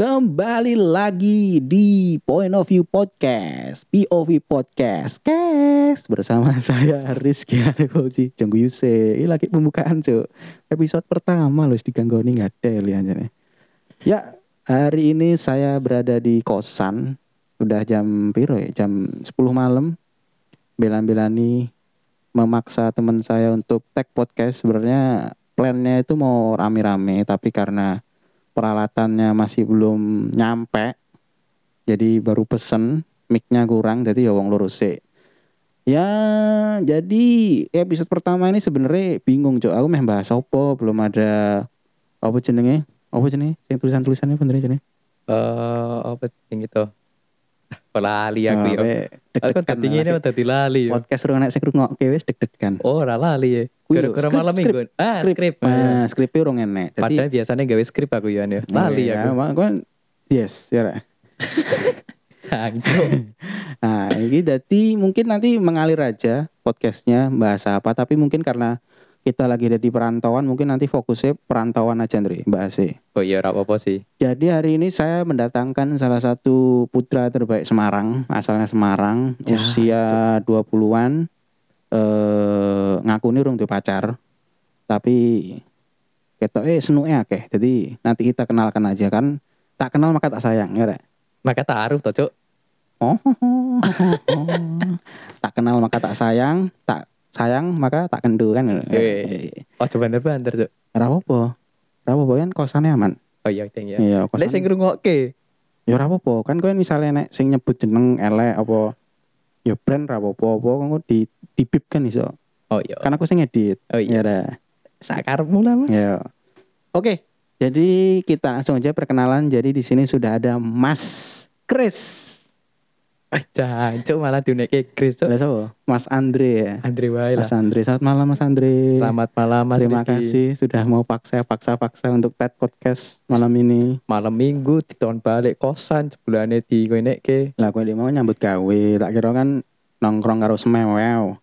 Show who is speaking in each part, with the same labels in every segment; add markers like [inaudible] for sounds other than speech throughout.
Speaker 1: Kembali lagi di Point of View Podcast, POV Podcast, Kes bersama [laughs] saya Rizky Adeboji, Jenggu Yuse. Ini lagi pembukaan cuk, episode pertama loh diganggu ini nggak ada lihatnya nih. Ya hari ini saya berada di kosan, udah jam piro ya, jam 10 malam. Bela-belani memaksa teman saya untuk tag podcast. Sebenarnya plannya itu mau rame-rame, tapi karena peralatannya masih belum nyampe jadi baru pesen mic-nya kurang jadi ya wong loro sik. ya jadi episode pertama ini sebenarnya bingung cok aku meh bahas apa belum ada apa jenenge apa jenenge sing tulisan tulisannya bener ya, jenenge
Speaker 2: Eh, apa sing itu? [laughs] Pelali
Speaker 1: Ah,
Speaker 2: aku ya. Aku kan
Speaker 1: deg
Speaker 2: tadi ini tadi lali. ya.
Speaker 1: podcast ruang nek sing ngrungokke wis deg-degan
Speaker 2: Oh, ora lali ya.
Speaker 1: Kuyo,
Speaker 2: Gara-gara
Speaker 1: skrip,
Speaker 2: malam
Speaker 1: skrip,
Speaker 2: minggu. Ah,
Speaker 1: skrip.
Speaker 2: skrip.
Speaker 1: nah skripnya urung enek Jadi-
Speaker 2: Padahal biasanya gawe skrip aku ya. ya. Lali
Speaker 1: Iya,
Speaker 2: aku.
Speaker 1: mak- kan yes ya Rek.
Speaker 2: Cangkok.
Speaker 1: [laughs] Nah, ini jadi mungkin nanti mengalir aja podcastnya bahasa apa, tapi mungkin karena kita lagi ada di perantauan, mungkin nanti fokusnya perantauan aja, Andre, bahasnya.
Speaker 2: Oh iya, ora apa-apa sih.
Speaker 1: Jadi hari ini saya mendatangkan salah satu putra terbaik Semarang, asalnya Semarang,
Speaker 2: Ya,
Speaker 1: usia 20-an. Eh ngaku ini urung duwe pacar. Tapi ketoke senuke akeh. Jadi nanti kita kenalkan aja kan. Tak kenal maka tak sayang, ya Rek?
Speaker 2: Maka taruh toh, Cuk.
Speaker 1: Oh, [laughs] tak kenal maka tak sayang, tak sayang maka tak kendu kan.
Speaker 2: Weh. Oh, coba bener-bener, Cuk.
Speaker 1: Rapopo, rapopo kan kosannya aman.
Speaker 2: Oh iya, ting ya.
Speaker 1: Iya,
Speaker 2: Lek sing
Speaker 1: kosan.
Speaker 2: ngrungokke.
Speaker 1: Ya rapopo kan kowe misalnya nek sing nyebut jeneng elek apa ya brand rapopo apa kan kowe di dibip kan iso.
Speaker 2: Oh iya.
Speaker 1: Kan aku sing edit.
Speaker 2: Oh
Speaker 1: Ya
Speaker 2: iya.
Speaker 1: dah.
Speaker 2: Sakarmu lah, Mas.
Speaker 1: Ya. Oke, jadi kita langsung aja perkenalan. Jadi di sini sudah ada Mas Chris.
Speaker 2: Ah, Cangkok malah diunekke Chris, Cuk.
Speaker 1: Lah, siapa? Mas Andre ya.
Speaker 2: Andre wae Iya lah.
Speaker 1: Mas Andre, selamat malam Mas Andre.
Speaker 2: Selamat malam, Mas
Speaker 1: Terima
Speaker 2: Rizky.
Speaker 1: kasih sudah mau paksa paksa paksa untuk TED Podcast malam ini.
Speaker 2: Malam Minggu diton balik kosan sebelane diunekke.
Speaker 1: Lah kowe mau nyambut gawe, tak kira kan nongkrong karo semewew.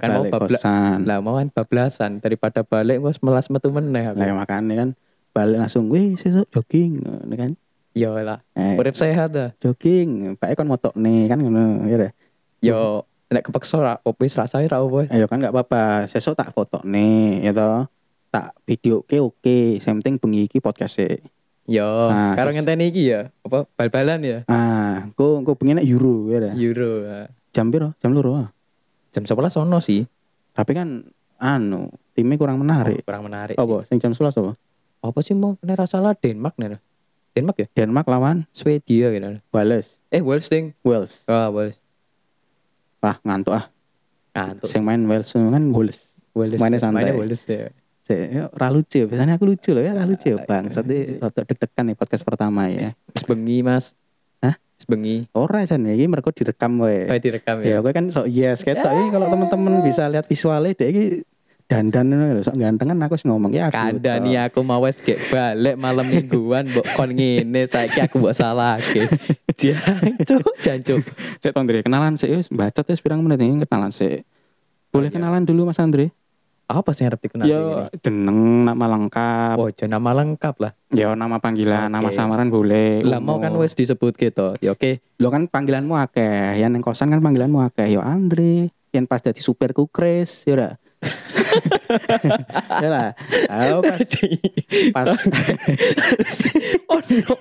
Speaker 1: Lah
Speaker 2: kan mau
Speaker 1: balik
Speaker 2: babla-
Speaker 1: kosan.
Speaker 2: Lah mau kan bablasan daripada balik wis melas metu meneh aku.
Speaker 1: Lah makane kan balik langsung wih sesuk jogging ngono kan.
Speaker 2: Yo lah,
Speaker 1: Eh,
Speaker 2: urip sehat dah.
Speaker 1: jogging, Pak kon motok nih kan ngono ya. deh.
Speaker 2: Yo
Speaker 1: Iya.
Speaker 2: nek kepeksa ra opo wis rasane ra opo.
Speaker 1: Ayo kan gak apa-apa, sesuk tak foto nih ya toh. Tak video oke oke, yang penting bengi iki podcast
Speaker 2: Yo,
Speaker 1: Nah,
Speaker 2: karo
Speaker 1: terus-
Speaker 2: ngenteni iki ya, apa bal-balan ya?
Speaker 1: Ah, ku ku bengi nek euro ya. deh.
Speaker 2: Euro. ah.
Speaker 1: Jam piro? Jam loro. ah.
Speaker 2: Jam 11 ono sih.
Speaker 1: Tapi kan anu, timnya kurang menarik.
Speaker 2: Oh, kurang menarik.
Speaker 1: Apa?
Speaker 2: Apa?
Speaker 1: Sing jam 11 apa?
Speaker 2: Apa sih mau nek ra salah Denmark nih. Denmark ya?
Speaker 1: Denmark lawan
Speaker 2: Swedia gitu.
Speaker 1: Wales.
Speaker 2: Eh Wales ding.
Speaker 1: Wales.
Speaker 2: Ah, Wales.
Speaker 1: Wah, ngantuk ah.
Speaker 2: Ngantuk.
Speaker 1: Sing main Wales kan Wales.
Speaker 2: Wales.
Speaker 1: mainnya santai.
Speaker 2: Mainnya Wales ya.
Speaker 1: Sik, yo, Ra lucu, biasanya aku lucu loh ya, ra lucu bang. Tadi rotok deg-degan nih podcast pertama ya.
Speaker 2: Wis bengi, Mas.
Speaker 1: Hah?
Speaker 2: Wis bengi.
Speaker 1: Ora jan ya, iki mergo direkam
Speaker 2: Oh,
Speaker 1: wae.
Speaker 2: direkam
Speaker 1: Ya
Speaker 2: ya.
Speaker 1: kowe kan sok yes ketok iki kalau teman-teman bisa lihat visualnya dek iki dandan ngono lho, sok ganteng kan aku sing ngomong ya aku.
Speaker 2: Kandani aku mau wes gek balik malam mingguan mbok kon ngene saiki aku mbok
Speaker 1: [laughs]
Speaker 2: salahke. Jancuk, jancuk.
Speaker 1: Sik to, Andre, kenalan sik wis bacot wis pirang menit ini kenalan sik. Boleh
Speaker 2: Iya.
Speaker 1: kenalan dulu Mas Andre?
Speaker 2: Apa sih yang harus dikenal?
Speaker 1: Yo jeneng nama lengkap.
Speaker 2: Oh, jeneng nama lengkap lah.
Speaker 1: Ya nama panggilan, nama
Speaker 2: Oke.
Speaker 1: samaran boleh.
Speaker 2: Lah mau
Speaker 1: umur.
Speaker 2: kan wes disebut gitu. Ya oke.
Speaker 1: Lo kan panggilanmu akeh, yang neng kosan kan panggilanmu akeh. Yo Andre, yang pas jadi supirku Chris, ya
Speaker 2: [laughs]
Speaker 1: ora. ya lah. Halo, pas
Speaker 2: [laughs]
Speaker 1: pas
Speaker 2: Oh, no.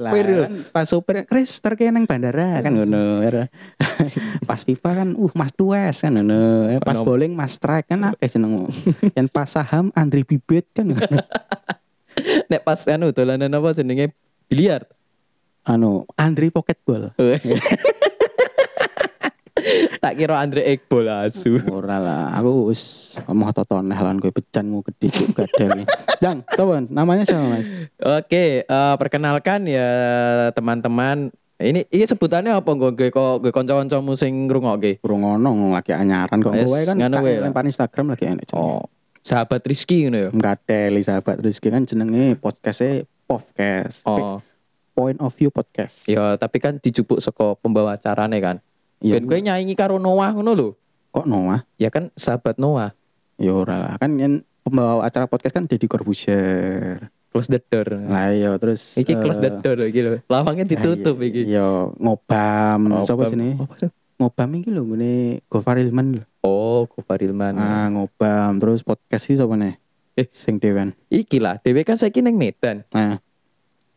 Speaker 1: lah,
Speaker 2: supir Hmm. lho.
Speaker 1: kan pas supir Chris terkene neng bandara kan ngono, ya ora. [laughs] pas FIFA kan uh Mas Tues kan ngono. Eh, Pas
Speaker 2: Ono-
Speaker 1: bowling Mas Strike kan akeh
Speaker 2: [laughs]
Speaker 1: jenengmu. yang pas saham Andre Bibit kan ngono.
Speaker 2: Nek pas anu dolanan apa jenenge biliar.
Speaker 1: anu Andre Pocketball.
Speaker 2: tak kira Andre Ekbol asu.
Speaker 1: Ora lah, aku wis mau totoneh lan kowe becanmu gede juga dhewe. Dang, sowan, namanya siapa Mas?
Speaker 2: Oke, eh, perkenalkan ya teman-teman. Ini ini sebutannya apa nggo nggo nggo kanca-kancamu sing ngrungokke?
Speaker 1: Kurang ono lagi anyaran kok
Speaker 2: Wes,
Speaker 1: kowe kan
Speaker 2: ngono
Speaker 1: tak
Speaker 2: wae lah.
Speaker 1: lempar Instagram lagi enak jenenge.
Speaker 2: Oh, sahabat Rizky ngono ya.
Speaker 1: Mkateli sahabat Rizky kan jenenge podcast-e Podcast.
Speaker 2: Oh,
Speaker 1: Point of View Podcast.
Speaker 2: ya tapi kan dijupuk saka pembawa acarane kan.
Speaker 1: Ya,
Speaker 2: Ben kowe nyaingi karo Noah ngono lho.
Speaker 1: kok Noah?
Speaker 2: Ya kan sahabat Noah.
Speaker 1: Ya ora lah, kan yen pembawa acara podcast kan Deddy Corbuzier.
Speaker 2: Close the door.
Speaker 1: Lah iya terus
Speaker 2: Iki
Speaker 1: eh,
Speaker 2: close the door iki lho. Lawangnya
Speaker 1: lah
Speaker 2: ditutup
Speaker 1: iya,
Speaker 2: iki.
Speaker 1: Iya, ngobam. Hmm, Sapa
Speaker 2: Ngobam.
Speaker 1: sini?
Speaker 2: Apa sih?
Speaker 1: Ngobam iki lho ngene Gofar Ilman lho.
Speaker 2: Oh, Gofar Ilman.
Speaker 1: Ah, ngobam terus podcast iki sapa ne?
Speaker 2: Eh.
Speaker 1: sing dewan.
Speaker 2: Iki lah, dhewe kan saiki ning Medan.
Speaker 1: Nah,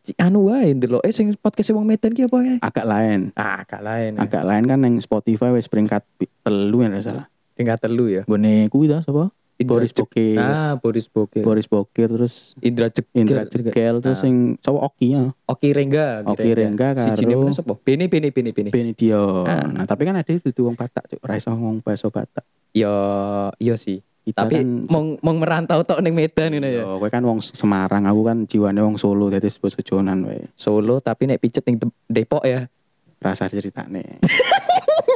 Speaker 2: Ci- Anu wae ndelok eh sing podcast wong Medan ki apa ya?
Speaker 1: agak lain.
Speaker 2: Ah, gak lain.
Speaker 1: Agak lain kan yang Spotify wis peringkat pi- telu ya nggak salah.
Speaker 2: Tingkat telu ya.
Speaker 1: Gone kuwi ta sapa?
Speaker 2: Indra
Speaker 1: Boris
Speaker 2: Jek-
Speaker 1: Bokir.
Speaker 2: Ah, Boris Bokir.
Speaker 1: Boris Bokir terus
Speaker 2: Indra Jegel.
Speaker 1: Indra Jegel terus
Speaker 2: Ah.
Speaker 1: sing cowok Oki ya.
Speaker 2: Oki Rengga.
Speaker 1: Oki Rengga
Speaker 2: Si jenenge
Speaker 1: karo
Speaker 2: sapa? Bene Bene Bene Bene.
Speaker 1: Benedion.
Speaker 2: Ah.
Speaker 1: Nah, tapi kan ada dudu wong Batak, Cuk. Ra iso ngomong basa Batak.
Speaker 2: Yo, yo Ya, sih.
Speaker 1: Kita
Speaker 2: Tapi
Speaker 1: kan
Speaker 2: mong mong merantau tok ning Medan ngono ya.
Speaker 1: Yo, kowe kan wong Semarang, aku kan jiwane wong Solo, dadi basa Jonan wae.
Speaker 2: Solo tapi nek picet ning Dep- Depok ya.
Speaker 1: Rasa ceritane. [laughs]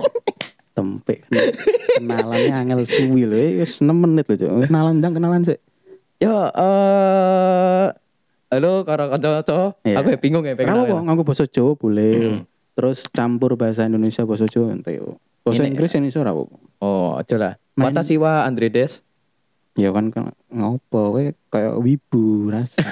Speaker 1: Tempe kan. kenalannya angel suwi lho, eh, wis 6 menit lho, Cuk. Kenalan ndang kenalan sik.
Speaker 2: Yo, Ya, eh halo karo kanca-kanca.
Speaker 1: Iya.
Speaker 2: Aku ya bingung ya
Speaker 1: Ora apa
Speaker 2: pengen.
Speaker 1: nganggo basa Jawa
Speaker 2: Hmm.
Speaker 1: boleh. Terus campur bahasa Indonesia basa Jawa ente yo. Basa
Speaker 2: Ini-
Speaker 1: Inggris ya, Indonesia ora apa.
Speaker 2: Oh, aja lah.
Speaker 1: Main-
Speaker 2: Mata siwa Andre Des.
Speaker 1: Ya kan kan ngopo kowe kayak wibu [laughs] rasa.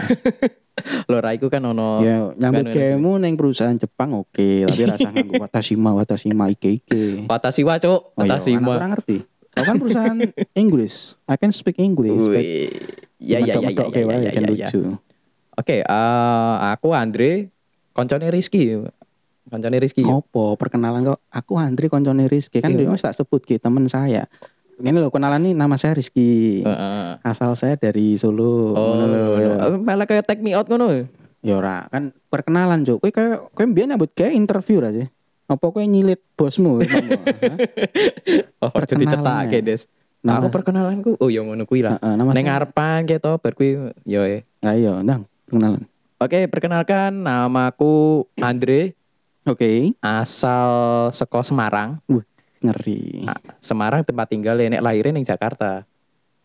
Speaker 2: Lho, ra iku kan ono
Speaker 1: ya nyambut
Speaker 2: kan,
Speaker 1: gamu ning perusahaan Jepang oke, tapi rasa
Speaker 2: [laughs]
Speaker 1: nganggo watashima watashima ike ike.
Speaker 2: Mata siwa,
Speaker 1: Oh,
Speaker 2: Cuk.
Speaker 1: iya,
Speaker 2: Mata
Speaker 1: kan aku
Speaker 2: siwa.
Speaker 1: ora ngerti. Aku kan perusahaan Inggris. I can speak English. but
Speaker 2: Wih. Ya ya ya ya
Speaker 1: medok-medok
Speaker 2: ya,
Speaker 1: kayak wae
Speaker 2: ya
Speaker 1: kan
Speaker 2: ya ya.
Speaker 1: lucu.
Speaker 2: Oke, eh, aku Andre, koncone Rizky. Koncone Rizky. ya.
Speaker 1: Ngopo perkenalan kok aku Andri koncone Rizky kan
Speaker 2: Iya.
Speaker 1: dia tak sebut ki temen saya. Ini loh kenalan nih nama saya Rizky.
Speaker 2: Heeh.
Speaker 1: asal saya dari Solo
Speaker 2: Eh. Oh,
Speaker 1: ngono lho, ya.
Speaker 2: malah kayak take me out ngono. Oh,
Speaker 1: ya ora kan perkenalan Cuk kowe kayak kowe mbiyen nyambut gawe interview ra sih apa kowe nyilit bosmu [laughs] Hah?
Speaker 2: Oh, aja
Speaker 1: Perkenalan,
Speaker 2: dicetake,
Speaker 1: ya.
Speaker 2: Des.
Speaker 1: Nah,
Speaker 2: Aku perkenalanku, oh ya ngono kuwi lah.
Speaker 1: Heeh, nama
Speaker 2: Ning ngarepan kayak to bar kuwi yo. eh.
Speaker 1: nah, iya ndang perkenalan
Speaker 2: Oke, perkenalkan namaku Andre,
Speaker 1: oke
Speaker 2: asal seko Semarang.
Speaker 1: ngeri
Speaker 2: Ah, Semarang tempat tinggal nek lahirnya ning Jakarta.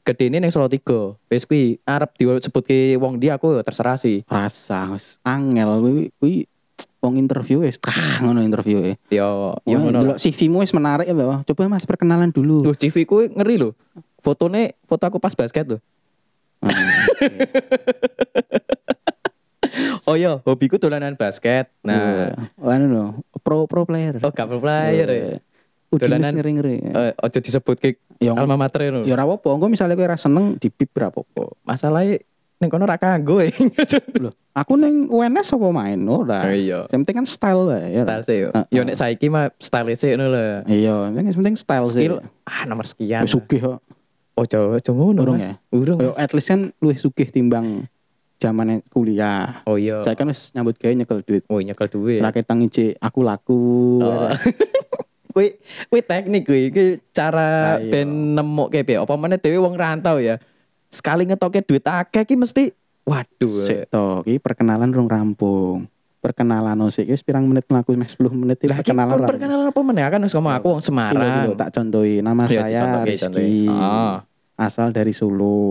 Speaker 2: Gedene ning Solo 3. Wis kuwi arep disebutke wong dia aku ya terserah sih.
Speaker 1: rasa wis angel kuwi kuwi wong interview wis tah ngono interview e
Speaker 2: Yo yo
Speaker 1: yo
Speaker 2: Iya, ngono. lah.
Speaker 1: delok CV-mu wis menarik ya lho coba Mas perkenalan dulu
Speaker 2: Duh, CV ku ngeri lho. Fotone foto aku pas basket lho.
Speaker 1: Ah, oke.
Speaker 2: Oh iya, hobiku dolanan basket. Nah,
Speaker 1: Wah, anu lho pro pro player
Speaker 2: oh gak player. ya.
Speaker 1: Udah
Speaker 2: Dolanan-
Speaker 1: ngeri-ngeri.
Speaker 2: Eh, ojo disebutke
Speaker 1: Yo
Speaker 2: alma mater lho.
Speaker 1: Ya ora apa-apa, engko misale kowe ora seneng di bip ora apa-apa.
Speaker 2: Masalahnya ning kono ra kanggo. eh.
Speaker 1: Aku ning UNS apa main
Speaker 2: Oh
Speaker 1: ora.
Speaker 2: iya.
Speaker 1: Yang penting kan style wae ya.
Speaker 2: Style sih. yo.
Speaker 1: Heeh.
Speaker 2: Yo nek saiki mah style sih ngono lho.
Speaker 1: Iya, yang penting style sih.
Speaker 2: Skill ah nomor sekian.
Speaker 1: Wis sugih kok.
Speaker 2: Ojo ojo ngono.
Speaker 1: Urung
Speaker 2: Mas.
Speaker 1: ya?
Speaker 2: Urung.
Speaker 1: Yo
Speaker 2: Mas.
Speaker 1: at least kan luwih sugih timbang zaman kuliah.
Speaker 2: Oh iya.
Speaker 1: Saya kan wis nyambut gawe nyekel duit.
Speaker 2: Oh nyekel duwe.
Speaker 1: Rakyat tangi aku laku.
Speaker 2: [laughs] Oh. Kuwi kuwi teknik kuwi, kuwi
Speaker 1: Nah,
Speaker 2: cara
Speaker 1: iya.
Speaker 2: ben nemokke piye. Apa meneh dhewe wong rantau ya. Sekali ngetoke duit akeh ki mesti waduh.
Speaker 1: Sik to, iki perkenalan rung rampung. Perkenalan no sik wis pirang menit mlaku meh 10 menit iki
Speaker 2: Lah iki
Speaker 1: perkenalan.
Speaker 2: kon
Speaker 1: rampung.
Speaker 2: perkenalan apa meneh kan wis ngomong aku wong
Speaker 1: Iki lho, iki lho,
Speaker 2: Semarang.
Speaker 1: gitu, tak contohi nama
Speaker 2: Iya,
Speaker 1: saya
Speaker 2: dicontoh, iya, contoh.
Speaker 1: Rizky.
Speaker 2: Ah,
Speaker 1: Asal dari Solo.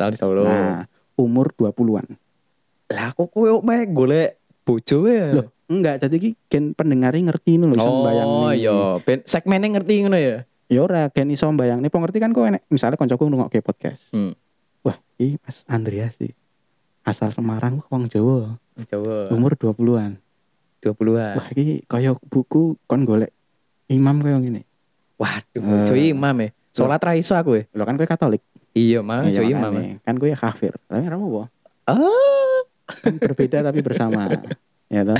Speaker 2: dari Solo.
Speaker 1: Nah, umur 20-an.
Speaker 2: Lah aku kowe meh golek bojo ya.
Speaker 1: Loh, Enggak, jadi ki gen pendengari ngerti ngono lho, iso
Speaker 2: Oh
Speaker 1: mbayangni.
Speaker 2: iya, ben segmennya ngerti ngono ya.
Speaker 1: Ya ora gen iso mbayangne. Pong ngerti kan kowe nek misale kancaku ngrungokke podcast.
Speaker 2: Hmm.
Speaker 1: Wah, iki Mas Andreas sih. Asal Semarang wong Jawa,
Speaker 2: Jawa
Speaker 1: umur 20-an.
Speaker 2: 20-an.
Speaker 1: Wah, iki kaya buku kon golek imam kaya ngene. Eh.
Speaker 2: Waduh, bojo imam ya. Salat ra iso aku ya.
Speaker 1: Lho kan kowe Katolik.
Speaker 2: Iya, mah
Speaker 1: Iya,
Speaker 2: bojo imam. ya.
Speaker 1: makane. Kan kowe kafir. Tapi ora apa-apa.
Speaker 2: Ah.
Speaker 1: Kan Berbeda tapi
Speaker 2: [laughs]
Speaker 1: bersama. Ya toh?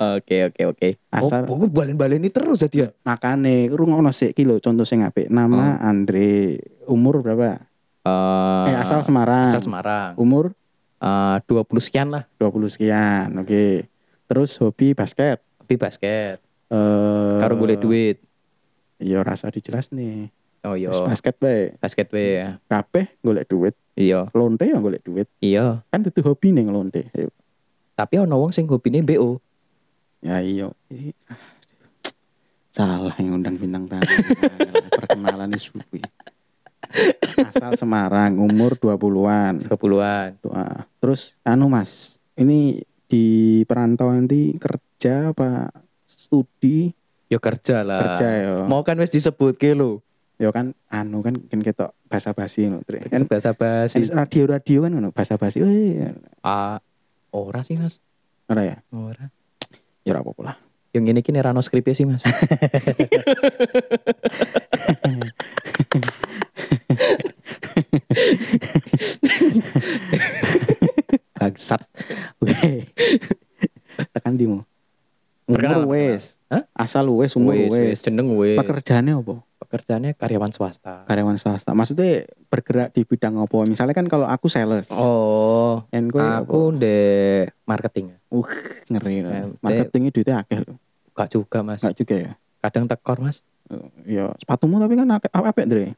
Speaker 2: Oke, oke, oke.
Speaker 1: Asal
Speaker 2: Oh, aku balen-balen ini terus jadi ya.
Speaker 1: makane rungokno sik iki lho contoh sing apik. Nama
Speaker 2: Oh.
Speaker 1: Andre. Umur berapa? eh asal Semarang.
Speaker 2: Ah, Asal Semarang.
Speaker 1: Umur
Speaker 2: Eh, 20 sekian lah,
Speaker 1: 20 sekian. Oke. Terus hobi basket.
Speaker 2: tapi basket.
Speaker 1: Eh
Speaker 2: Karo boleh duit.
Speaker 1: Ya rasa dijelas nih.
Speaker 2: Oh iya,
Speaker 1: Wis basket bae.
Speaker 2: basket we. ya.
Speaker 1: Kabeh golek duit,
Speaker 2: Iya,
Speaker 1: lonte ya golek duit.
Speaker 2: iya.
Speaker 1: Kan itu hobi nih lonte. Ayo.
Speaker 2: Tapi ono wong sing hobine BO.
Speaker 1: Ya iya. Ih, ah, Salah yang undang bintang tamu.
Speaker 2: [laughs]
Speaker 1: Perkenalan ini suwi. Asal Semarang, umur 20-an.
Speaker 2: 20-an.
Speaker 1: Doa. Terus anu Mas, ini di perantauan nanti kerja apa studi
Speaker 2: Yo kerja lah.
Speaker 1: kerja ya
Speaker 2: Ah. Mau kan wis disebutke lho.
Speaker 1: ya kan anu kan kan ketok basa-basi ngono Tri. kan
Speaker 2: Bahasa
Speaker 1: kan
Speaker 2: basi.
Speaker 1: radio-radio kan ngono basa-basi eh
Speaker 2: Ah, ora sih mas.
Speaker 1: ora ya
Speaker 2: Ora.
Speaker 1: ya ora apa-apa lah
Speaker 2: Yang ini kini rano skripnya sih mas.
Speaker 1: bangsat Weh. [laughs] tekan di mau
Speaker 2: Perkenalan,
Speaker 1: umur wes
Speaker 2: Hah?
Speaker 1: asal wes umur
Speaker 2: Wes, wes,
Speaker 1: wes
Speaker 2: jeneng wes.
Speaker 1: pekerjaannya apa
Speaker 2: Pekerjaannya karyawan swasta.
Speaker 1: karyawan swasta maksudnya bergerak di bidang apa misalnya kan kalau aku sales kan
Speaker 2: Oh,
Speaker 1: and gue
Speaker 2: aku de marketing.
Speaker 1: ngeri
Speaker 2: Nah,
Speaker 1: loh. marketingnya duitnya akeh loh
Speaker 2: Gak juga mas.
Speaker 1: nggak juga ya
Speaker 2: Kadang tekor mas.
Speaker 1: Eh, ya sepatumu tapi kan apa apa Dre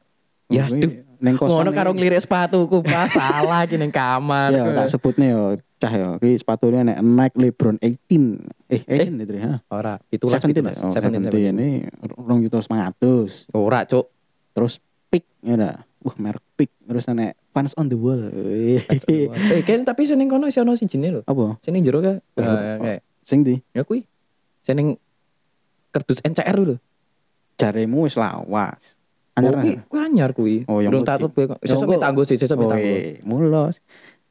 Speaker 2: Ya,
Speaker 1: Kuwi
Speaker 2: Iya. aduh.
Speaker 1: neng kosan
Speaker 2: Ngono
Speaker 1: iki-
Speaker 2: karo ngelirik sepatuku pas salah iki ning kamar. [laughs]
Speaker 1: ya tak sebutnya yo cah yo ki sepatunya nek Nike LeBron 18 eh 18 ya Dre ha
Speaker 2: Ora, itu gitu lah itu
Speaker 1: 17
Speaker 2: mas.
Speaker 1: oh
Speaker 2: 17,
Speaker 1: 17 ini rong juta semangatus
Speaker 2: Ora, Cuk.
Speaker 1: terus pick ya dah wah merek pick terus nek fans on the wall
Speaker 2: eh, kan tapi seneng kono isih ono sijine lho.
Speaker 1: [laughs] apa
Speaker 2: Seneng jero ka?
Speaker 1: Eh,
Speaker 2: Nah, kayak
Speaker 1: sing di
Speaker 2: ya kuwi. Seneng kerdus NCR lho.
Speaker 1: jaremu wis lawas
Speaker 2: Oh,
Speaker 1: anyar
Speaker 2: kuwi kuwi anyar kuwi.
Speaker 1: Oh, yang
Speaker 2: Durung
Speaker 1: putih.
Speaker 2: tatut kuwi. Sesuk
Speaker 1: Monggo.
Speaker 2: minta anggo sih, sesuk minta anggo.
Speaker 1: Weh, mulos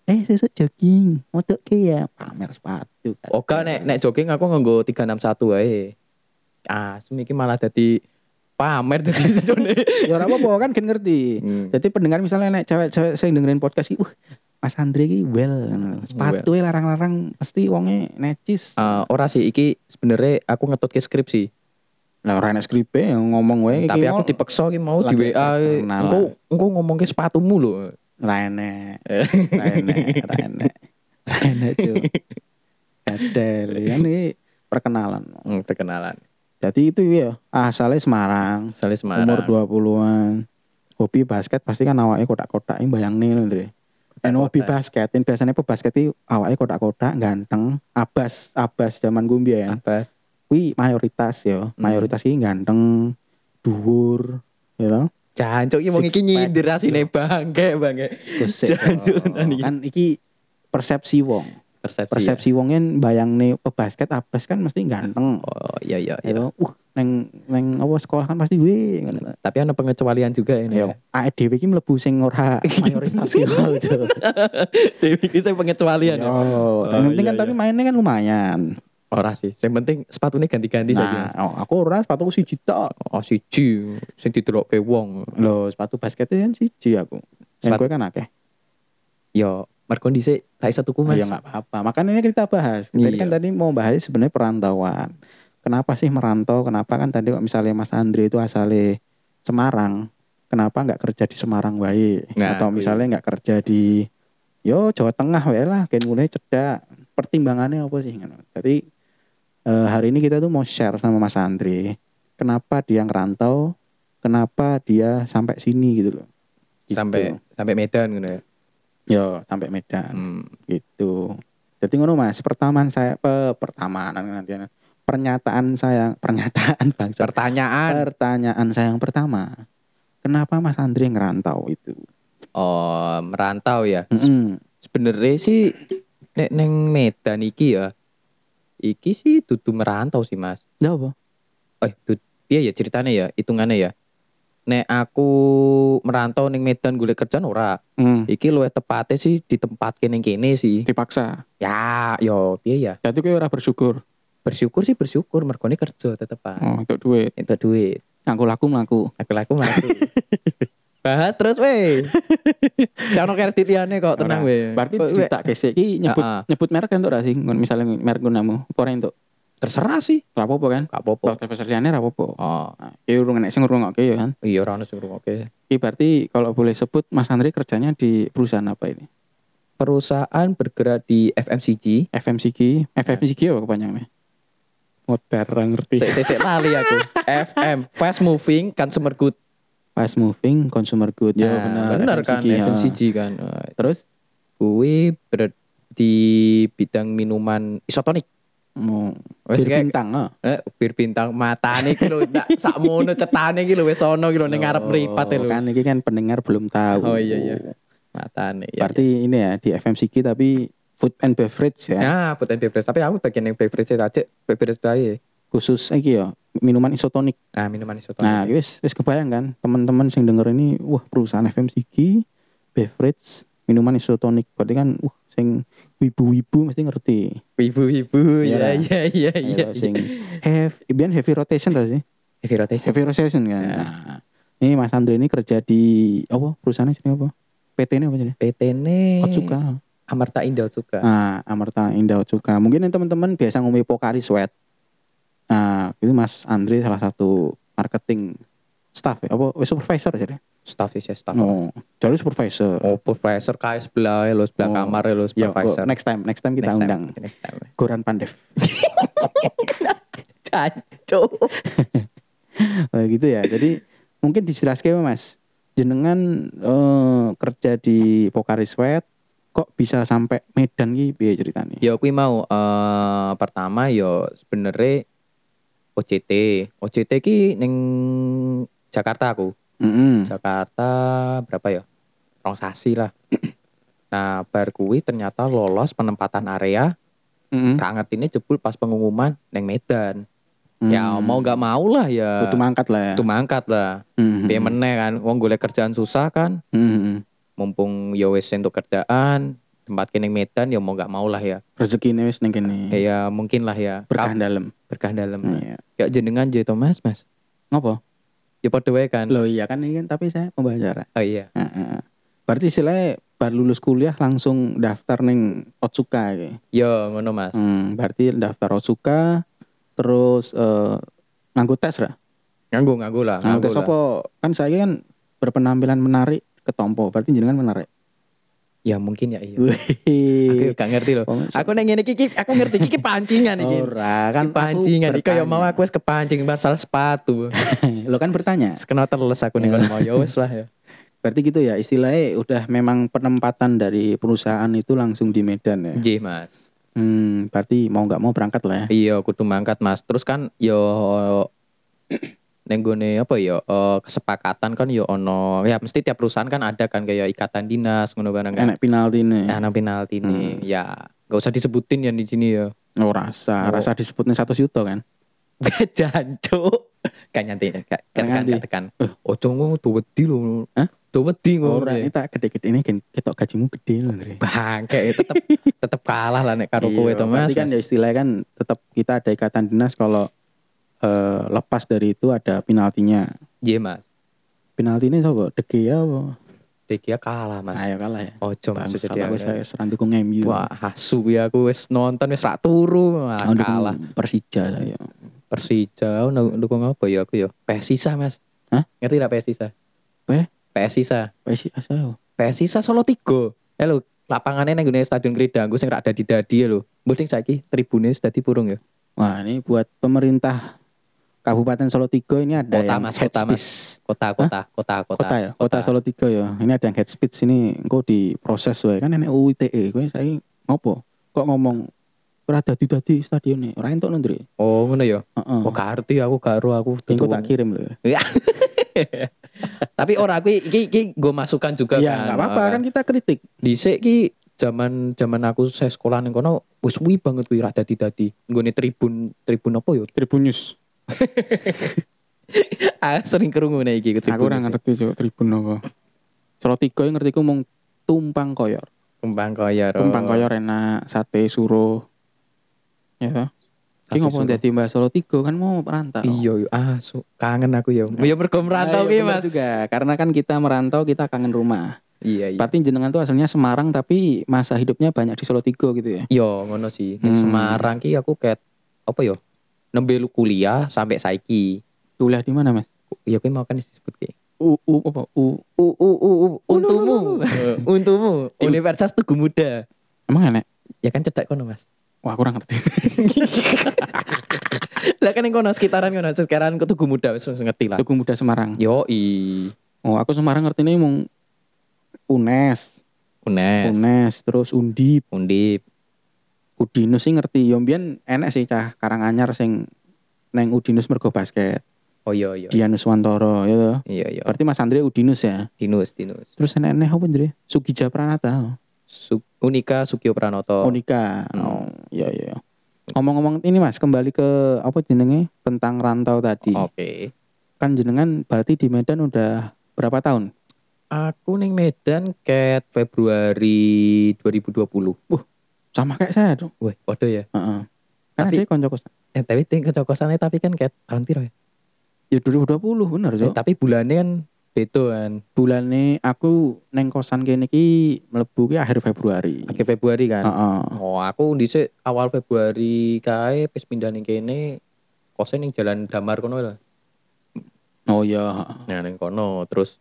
Speaker 1: eh sesuk jogging motok ke ya pamer sepatu
Speaker 2: Oga nek nek jogging aku nganggo 361 wae. Ah, semi iki malah dadi pamer
Speaker 1: [laughs]
Speaker 2: dadi sejone.
Speaker 1: ya ora apa-apa kan gen ngerti jadi pendengar misalnya nek cewek-cewek sing dengerin podcast iki wah Mas Andre ki well sepatu ya larang-larang pasti wonge necis
Speaker 2: Ah, ora sih iki sebenarnya aku ngetutke skrip sih.
Speaker 1: lah ora nek skripe ya ngomong wae
Speaker 2: Tapi
Speaker 1: iki
Speaker 2: aku
Speaker 1: mau-
Speaker 2: dipeksa ki mau di
Speaker 1: lagi
Speaker 2: WA.
Speaker 1: terkenal.
Speaker 2: Engko engko ngomongke sepatumu lho.
Speaker 1: Ra enek.
Speaker 2: Eh.
Speaker 1: Ra enek, ra enek. Ra enek, Cuk. Dadel, ya ini perkenalan.
Speaker 2: Hmm, perkenalan.
Speaker 1: Jadi itu ya, asalnya Semarang,
Speaker 2: Soalnya Semarang.
Speaker 1: umur 20-an. Hobi basket pasti kan awaknya kotak-kotak ini bayang nih lho, Ndre. Dan hobi basket, ini biasanya pebasket itu awaknya kotak-kotak, ganteng, abas, abas zaman gue ya.
Speaker 2: Abbas.
Speaker 1: Wih, mayoritas
Speaker 2: Hmm.
Speaker 1: ya, mayoritas ini ganteng, dhuwur, ya
Speaker 2: [laughs]
Speaker 1: you know?
Speaker 2: Jancuk iki wong
Speaker 1: Six
Speaker 2: iki
Speaker 1: pack.
Speaker 2: nyindir asine bangke bangke.
Speaker 1: Kusik.
Speaker 2: Jangan,
Speaker 1: kan iki persepsi wong.
Speaker 2: Oh, Iya. Persepsi.
Speaker 1: persepsi wong kan bayang nih pebasket abas kan mesti ganteng
Speaker 2: ya? Oh iya iya iya.
Speaker 1: ya uh neng neng apa sekolah kan pasti gue
Speaker 2: Tapi ada pengecualian juga ini.
Speaker 1: ya AEDW ki mlebu sing ora mayoritas ki mau Jo.
Speaker 2: [laughs] Dewi iki sing pengecualian.
Speaker 1: Yo,
Speaker 2: ya?
Speaker 1: Iya, yang penting kan
Speaker 2: iya,
Speaker 1: tapi mainnya kan lumayan.
Speaker 2: Ora sih, yang penting sepatunya ganti-ganti saja.
Speaker 1: Nah, oh, aku ora sepatu aku siji tok.
Speaker 2: Oh siji sing didelokke wong.
Speaker 1: Loh, sepatu basketnya kan siji aku. Yang
Speaker 2: Sepatu-
Speaker 1: gue kan akeh.
Speaker 2: Ya, mergo dhisik tak iso tuku Mas.
Speaker 1: Ya enggak apa-apa. Makanya ini kita bahas. Tadi
Speaker 2: Iya.
Speaker 1: kan tadi mau bahas sebenarnya perantauan. Kenapa sih merantau? Kenapa kan tadi kok misalnya Mas Andre itu asalnya Semarang, kenapa nggak kerja di Semarang wae?
Speaker 2: Nah,
Speaker 1: Atau
Speaker 2: kuwi.
Speaker 1: misalnya nggak kerja di yo Jawa Tengah wae lah, kan mulai cedak. Pertimbangannya apa sih? Ngono. Jadi eh, hari ini kita tuh mau share sama Mas Andre, kenapa dia ngerantau, kenapa dia sampai sini gitu loh. Gitu.
Speaker 2: Sampai sampai Medan ngono ya.
Speaker 1: yo sampai Medan
Speaker 2: Hmm.
Speaker 1: gitu jadi ngono mas pertamaan saya pe, pertamanan nanti pernyataan saya [laughs] pernyataan bangsa
Speaker 2: Pertanyaan.
Speaker 1: pertanyaan saya yang pertama kenapa mas Andre ngerantau itu
Speaker 2: Oh, merantau ya.
Speaker 1: Mm-mm.
Speaker 2: sebenarnya sih nek neng Medan iki ya iki sih dudu merantau sih mas
Speaker 1: Ya apa
Speaker 2: eh dud- iya ya ceritanya ya hitungannya ya nek aku merantau neng Medan golek kerjaan ora
Speaker 1: Mm,
Speaker 2: iki luwih tepatnya sih ditempatke ning kene sih
Speaker 1: dipaksa
Speaker 2: ya yo piye ya
Speaker 1: jadi gue ora bersyukur
Speaker 2: bersyukur sih bersyukur mergone kerja tetepan
Speaker 1: oh, untuk duit
Speaker 2: itu duit
Speaker 1: ngaku laku melaku
Speaker 2: aku laku mati
Speaker 1: [laughs]
Speaker 2: bahas terus weh Siapa kredit liane kok tenang
Speaker 1: Ora.
Speaker 2: weh
Speaker 1: berarti
Speaker 2: Kok, weh,
Speaker 1: cerita kesek ki nyebut
Speaker 2: ah, ah.
Speaker 1: nyebut merek entuk ora sih Ngon- misalnya merek gunamu apa ora entuk
Speaker 2: terserah sih
Speaker 1: ora apa kan
Speaker 2: gak apa-apa
Speaker 1: Dokter pesertanya ora apa-apa
Speaker 2: oh
Speaker 1: Nah, ki urung nek sing ngrungokke ya kan
Speaker 2: iya ora ono sing ngrungokke
Speaker 1: ki berarti kalau boleh sebut Mas Andre kerjanya di perusahaan apa ini
Speaker 2: perusahaan bergerak di FMCG.
Speaker 1: FMCG, FMCG apa kepanjangannya? Motor orang ngerti.
Speaker 2: Sesek lali
Speaker 1: [laughs]
Speaker 2: aku. FM, fast moving consumer good.
Speaker 1: Fast moving consumer good ya
Speaker 2: Nah,
Speaker 1: benar.
Speaker 2: Benar kan
Speaker 1: ya.
Speaker 2: FMCG kan. Eh,
Speaker 1: Terus
Speaker 2: Kuwi ber- di bidang minuman isotonik.
Speaker 1: mau
Speaker 2: Wes
Speaker 1: bir
Speaker 2: kayak
Speaker 1: bintang ah.
Speaker 2: eh, bir bintang matane iki lho
Speaker 1: [laughs]
Speaker 2: ndak sakmono cetane iki lho wis ono iki lho ning ngarep mripat iki lho.
Speaker 1: Kan ini kan pendengar belum tahu.
Speaker 2: ya, Oh iya iya. Matane ya.
Speaker 1: Berarti ini ya di FMCG tapi food and beverage ya.
Speaker 2: Ah, Nah, food and beverage. Tapi aku bagian yang beverage aja, beverage aja.
Speaker 1: Khusus iki ya minuman isotonik.
Speaker 2: Nah, minuman isotonik.
Speaker 1: Nah, wis wis kebayang kan teman-teman yang denger ini, wah perusahaan FM Sigi, beverage, minuman isotonik. Berarti kan uh sing wibu-wibu mesti ngerti.
Speaker 2: ibu-ibu ya
Speaker 1: Iya.
Speaker 2: ya ya ya.
Speaker 1: Ayo, sing have, biyen heavy rotation lah sih.
Speaker 2: Heavy rotation.
Speaker 1: Heavy rotation kan.
Speaker 2: Ya.
Speaker 1: Nah, ini Mas Andre ini kerja di apa perusahaannya sini apa? PT ini apa jadi?
Speaker 2: PT ne
Speaker 1: Otsuka.
Speaker 2: Amarta Indah Otsuka.
Speaker 1: Nah, Amerta Indah Otsuka. Mungkin yang teman-teman biasa ngombe Pokari Sweat. Nah, itu Mas Andre salah satu marketing staff ya, apa supervisor jadi?
Speaker 2: Staff sih staff.
Speaker 1: Oh, jadi supervisor.
Speaker 2: Oh, supervisor KS sebelah ya lo sebelah
Speaker 1: Oh.
Speaker 2: kamar ya lo
Speaker 1: Ya,
Speaker 2: supervisor.
Speaker 1: oh, next time, next time kita
Speaker 2: Next time,
Speaker 1: undang
Speaker 2: next time.
Speaker 1: Goran Pandev.
Speaker 2: Cacok.
Speaker 1: Eh, gitu ya. Jadi mungkin dijelaskan ya, Mas. Jenengan eh, kerja di Pokari Sweat kok bisa sampai Medan ki piye ceritane?
Speaker 2: Ya aku mau eh pertama ya sebenarnya OCT. OCT ki ning Jakarta aku.
Speaker 1: Heeh.
Speaker 2: Jakarta berapa ya? Rong sasi
Speaker 1: [clears throat]
Speaker 2: lah. Nah, bar kuwi ternyata lolos penempatan area.
Speaker 1: Heeh.
Speaker 2: Kanget ini jebul pas pengumuman neng Medan. Ya
Speaker 1: Hmm.
Speaker 2: mau nggak mau lah ya.
Speaker 1: butuh mangkat lah ya.
Speaker 2: Itu mangkat lah.
Speaker 1: Heeh.
Speaker 2: Piye meneh kan wong golek kerjaan susah kan.
Speaker 1: Heeh.
Speaker 2: Mumpung ya wis entuk kerjaan, tempat kene Medan ya mau nggak mau lah ya.
Speaker 1: Rezekine wis ning kene.
Speaker 2: Ya, Ya mungkin lah ya.
Speaker 1: Hmm. berkah
Speaker 2: Kap-
Speaker 1: dalam.
Speaker 2: berkah dalam.
Speaker 1: Iya.
Speaker 2: Ya jenengan J Thomas, Mas.
Speaker 1: Ngopo?
Speaker 2: Ya padha wae kan.
Speaker 1: Loh iya kan ini kan tapi saya pembicara.
Speaker 2: Oh iya.
Speaker 1: Heeh. Berarti istilahnya bar lulus kuliah langsung daftar neng Otsuka iki.
Speaker 2: Yo Ya, ngono, Mas.
Speaker 1: Hmm, berarti daftar Otsuka terus eh, nganggo tes lah.
Speaker 2: Nganggo nganggo lah,
Speaker 1: Nganggo
Speaker 2: nganggo
Speaker 1: tes
Speaker 2: lah.
Speaker 1: apa? Kan saya kan berpenampilan menarik ketompo. Berarti jenengan menarik.
Speaker 2: Ya mungkin ya iya. Aku
Speaker 1: Wih.
Speaker 2: gak ngerti loh.
Speaker 1: Aku-
Speaker 2: Aku neng ngene iki aku ngerti iki pancingan iki.
Speaker 1: Ora kan aku
Speaker 2: pancingan iki
Speaker 1: bertanya.
Speaker 2: kaya mau
Speaker 1: [laughs]
Speaker 2: aku wis kepancing pasal sepatu.
Speaker 1: Lo kan bertanya.
Speaker 2: Sekena teles aku ning kono mau ya wis lah ya.
Speaker 1: [laughs] Berarti gitu ya istilahnya udah memang penempatan dari perusahaan itu langsung di Medan ya.
Speaker 2: J Mas.
Speaker 1: Hmm, berarti mau nggak mau berangkat lah ya.
Speaker 2: Iya, kudu mangkat Mas. Terus kan yo neng gone apa yo eh, kesepakatan kan yo ono ya mesti tiap perusahaan kan ada kan kayak ikatan dinas ngono barang kan.
Speaker 1: Enak ya? penalti nih.
Speaker 2: Nah, nang penalti nih.
Speaker 1: Hmm.
Speaker 2: Ya, gak usah disebutin yang di sini ya. [laughs]
Speaker 1: Oh rasa,
Speaker 2: Oh.
Speaker 1: rasa disebutnya satu juta kan.
Speaker 2: Jancuk. Kan nyanti kan
Speaker 1: Kan
Speaker 2: tekan
Speaker 1: nganti.
Speaker 2: kan tekan. Ojo ngono tuh wedi lho.
Speaker 1: Hah?
Speaker 2: Tuh wedi ngono. ya.
Speaker 1: Orang Oh, ini tak gede-gede ini gen- ketok gajimu gede loh Andre.
Speaker 2: bangke ya,
Speaker 1: [laughs]
Speaker 2: tetep tetep kalah lah nek karo kowe
Speaker 1: Iya,
Speaker 2: to Mas.
Speaker 1: Berarti kan ya istilahnya kan tetap kita ada ikatan dinas kalau eh, lepas dari itu ada penaltinya.
Speaker 2: Iya, Mas.
Speaker 1: Penalti ini coba dege ya apa?
Speaker 2: Dekia ya kalah Mas.
Speaker 1: Ayo kalah ya.
Speaker 2: Ojo maksudnya
Speaker 1: Bangsa
Speaker 2: dia.
Speaker 1: aku saya serandu ku MU.
Speaker 2: Wah, hasu ya aku wis nonton wis rak turu Wah,
Speaker 1: Aku Oh, dukung
Speaker 2: kalah.
Speaker 1: Persija saya.
Speaker 2: Persija aku nu- dukung apa ya aku ya? Persisa, Mas.
Speaker 1: Hah? Eh?
Speaker 2: Ngerti gak Persisa?
Speaker 1: Pe?
Speaker 2: Persisa.
Speaker 1: Persija saya.
Speaker 2: Persisa Solo 3. Eh lho, lapangannya nang gone Stadion Kridanggu sing rak dadi dadi ya lho. Mending saiki tribune wis dadi purung ya.
Speaker 1: Wah, ini buat pemerintah Kabupaten Solo 3 ini ada yang
Speaker 2: Kota, Mas,
Speaker 1: head
Speaker 2: kota, Mas.
Speaker 1: speech.
Speaker 2: Kota kota kota kota.
Speaker 1: kota ya kota, Solo 3 ya ini ada yang head speech ini engko diproses wae kan enek UU ITE kowe saiki ngopo kok ngomong ora dadi dadi stadione ora entuk nendri
Speaker 2: Oh, ngono ya.
Speaker 1: heeh
Speaker 2: Oh, gak ngerti aku gak ero aku.
Speaker 1: engko
Speaker 2: tutup.
Speaker 1: tak kirim lho ya.
Speaker 2: Tapi ora aku iki iki gue masukkan juga Oh,
Speaker 1: ya nggak apa-apa kan kita kritik
Speaker 2: Dhisik ki zaman zaman aku saya sekolah ning kono wis suwi banget kuwi rada dadi nggone tribun tribun apa ya?
Speaker 1: Tribun News
Speaker 2: [laughs] Ah, sering kerungu nih iki ke
Speaker 1: aku ora
Speaker 2: News.
Speaker 1: ngerti cuk Tribun apa Solo 3 yang ngerti ku mung tumpang koyor
Speaker 2: Kembang koyor.
Speaker 1: tumpang koyor enak sate suruh ya toh? Ki
Speaker 2: Sate
Speaker 1: ngopo
Speaker 2: suruh.
Speaker 1: dadi Mbak Solo 3 kan mau merantau
Speaker 2: Iya, iya. ah, su- kangen aku ya. Ya mergo
Speaker 1: Nah,
Speaker 2: merantau
Speaker 1: iya,
Speaker 2: ki,
Speaker 1: bener
Speaker 2: Mas.
Speaker 1: juga karena kan kita merantau kita kangen rumah
Speaker 2: Iya, iya.
Speaker 1: Berarti jenengan tuh aslinya Semarang tapi masa hidupnya banyak di Solo Tigo gitu ya.
Speaker 2: Yo ngono sih. Ning
Speaker 1: Hmm.
Speaker 2: Semarang ki aku ket apa yo? Nembe lu kuliah sampai saiki.
Speaker 1: Kuliah di mana, Mas?
Speaker 2: Ya kuwi mau kan disebut ki. Oh,
Speaker 1: U U apa? U.
Speaker 2: U u u u
Speaker 1: untumu.
Speaker 2: untumu. untumu
Speaker 1: Di-
Speaker 2: Universitas Tugu Muda.
Speaker 1: [laughs] Emang enak?
Speaker 2: Ya kan cedak kono, Mas.
Speaker 1: Wah, kurang [laughs] ngerti.
Speaker 2: Lah kan yang kono sekitaran kono sekitaran ke Tugu Muda wis wis ngerti lah.
Speaker 1: Tugu Muda Semarang.
Speaker 2: Yo i.
Speaker 1: Oh, aku Semarang ngerti nih mung UNES,
Speaker 2: Unes,
Speaker 1: UNES, terus Undip,
Speaker 2: Undip.
Speaker 1: Udinus sih ngerti. Yombian enak sih cah Karanganyar sing neng Udinus mergo basket.
Speaker 2: Oh iya iya.
Speaker 1: Dianus Wantoro ya. toh?
Speaker 2: Iya iya.
Speaker 1: Berarti Mas Andre Udinus ya.
Speaker 2: Dinus Dinus.
Speaker 1: Terus enak-enak apa Andre? Sugija Pranata.
Speaker 2: Su- Unika Sukio Pranoto.
Speaker 1: Onika.
Speaker 2: Hmm.
Speaker 1: Oh, iya iya. Oh, Ngomong-ngomong ini Mas, kembali ke apa jenenge tentang rantau tadi.
Speaker 2: Oke.
Speaker 1: Kan jenengan berarti di Medan udah berapa tahun?
Speaker 2: Aku ning Medan ket Februari 2020.
Speaker 1: Sama kayak saya dong.
Speaker 2: Wah, podo ya.
Speaker 1: Heeh. Karena
Speaker 2: Tapi-
Speaker 1: dia konco kosan.
Speaker 2: Eh, tapi ting kecokosannya tapi kan ket tahun piro ya?
Speaker 1: Ya 2020 bener,
Speaker 2: Eh,
Speaker 1: Cok.
Speaker 2: tapi bulannya kan beda kan.
Speaker 1: Bulane aku neng kosan kene iki mlebu ki akhir Februari.
Speaker 2: Akhir Februari kan.
Speaker 1: Heeh.
Speaker 2: Oh, aku dhisik awal Februari kae pas pindah ning kene kosen ning Jalan Damar kono lho.
Speaker 1: Oh iya,
Speaker 2: Nah, ning kono terus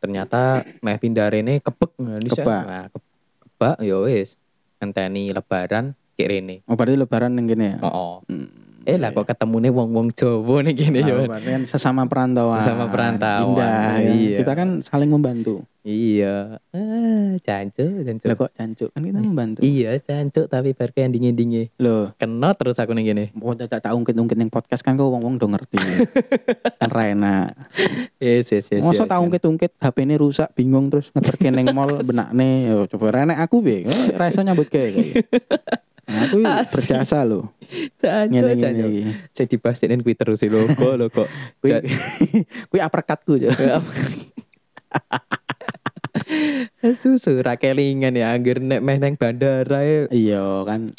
Speaker 2: ternyata meh pindah rene kebek. Nah, dhisik,
Speaker 1: Kebak.
Speaker 2: Nah, ke- kebak ya wis. Ngenteni lebaran kek rene.
Speaker 1: oh berarti lebaran neng kene ya.
Speaker 2: Heeh. Oh,
Speaker 1: Hmm.
Speaker 2: Eh lah kok ketemune wong-wong Jawa ning kene
Speaker 1: Ah,
Speaker 2: ya.
Speaker 1: berarti kan sesama perantauan.
Speaker 2: Sesama perantauan,
Speaker 1: Indah, ya.
Speaker 2: iya.
Speaker 1: Kita kan saling membantu.
Speaker 2: Iya. Eh, jancuk, jancuk.
Speaker 1: Lah kok jancuk kan kita membantu.
Speaker 2: Iya, jancuk tapi bar kayak dingin-dingin.
Speaker 1: Loh,
Speaker 2: Kena terus aku ning kene.
Speaker 1: mau tak tak ungkit-ungkit yang podcast kan kok wong-wong do [laughs] ngerti. kan Rena.
Speaker 2: Yes, yes, yes.
Speaker 1: Masa
Speaker 2: yes,
Speaker 1: tak
Speaker 2: yes.
Speaker 1: ungkit-ungkit HP ini rusak bingung terus ngeterke ning [laughs] mall benakne. Yo coba Rena aku piye? Rasa nyambut gawe kok. ya. Nah, [laughs] aku
Speaker 2: Asik.
Speaker 1: berjasa loh
Speaker 2: Jancuk,
Speaker 1: ngene-ngene
Speaker 2: jancuk.
Speaker 1: iki.
Speaker 2: Saya dipastiin kuwi terus sih lho kok
Speaker 1: [laughs]
Speaker 2: lho kok.
Speaker 1: Kuwi kuwi uppercutku Cuk.
Speaker 2: Susu ra kelingan ya anggere nek meh nang bandara ya.
Speaker 1: Iya kan,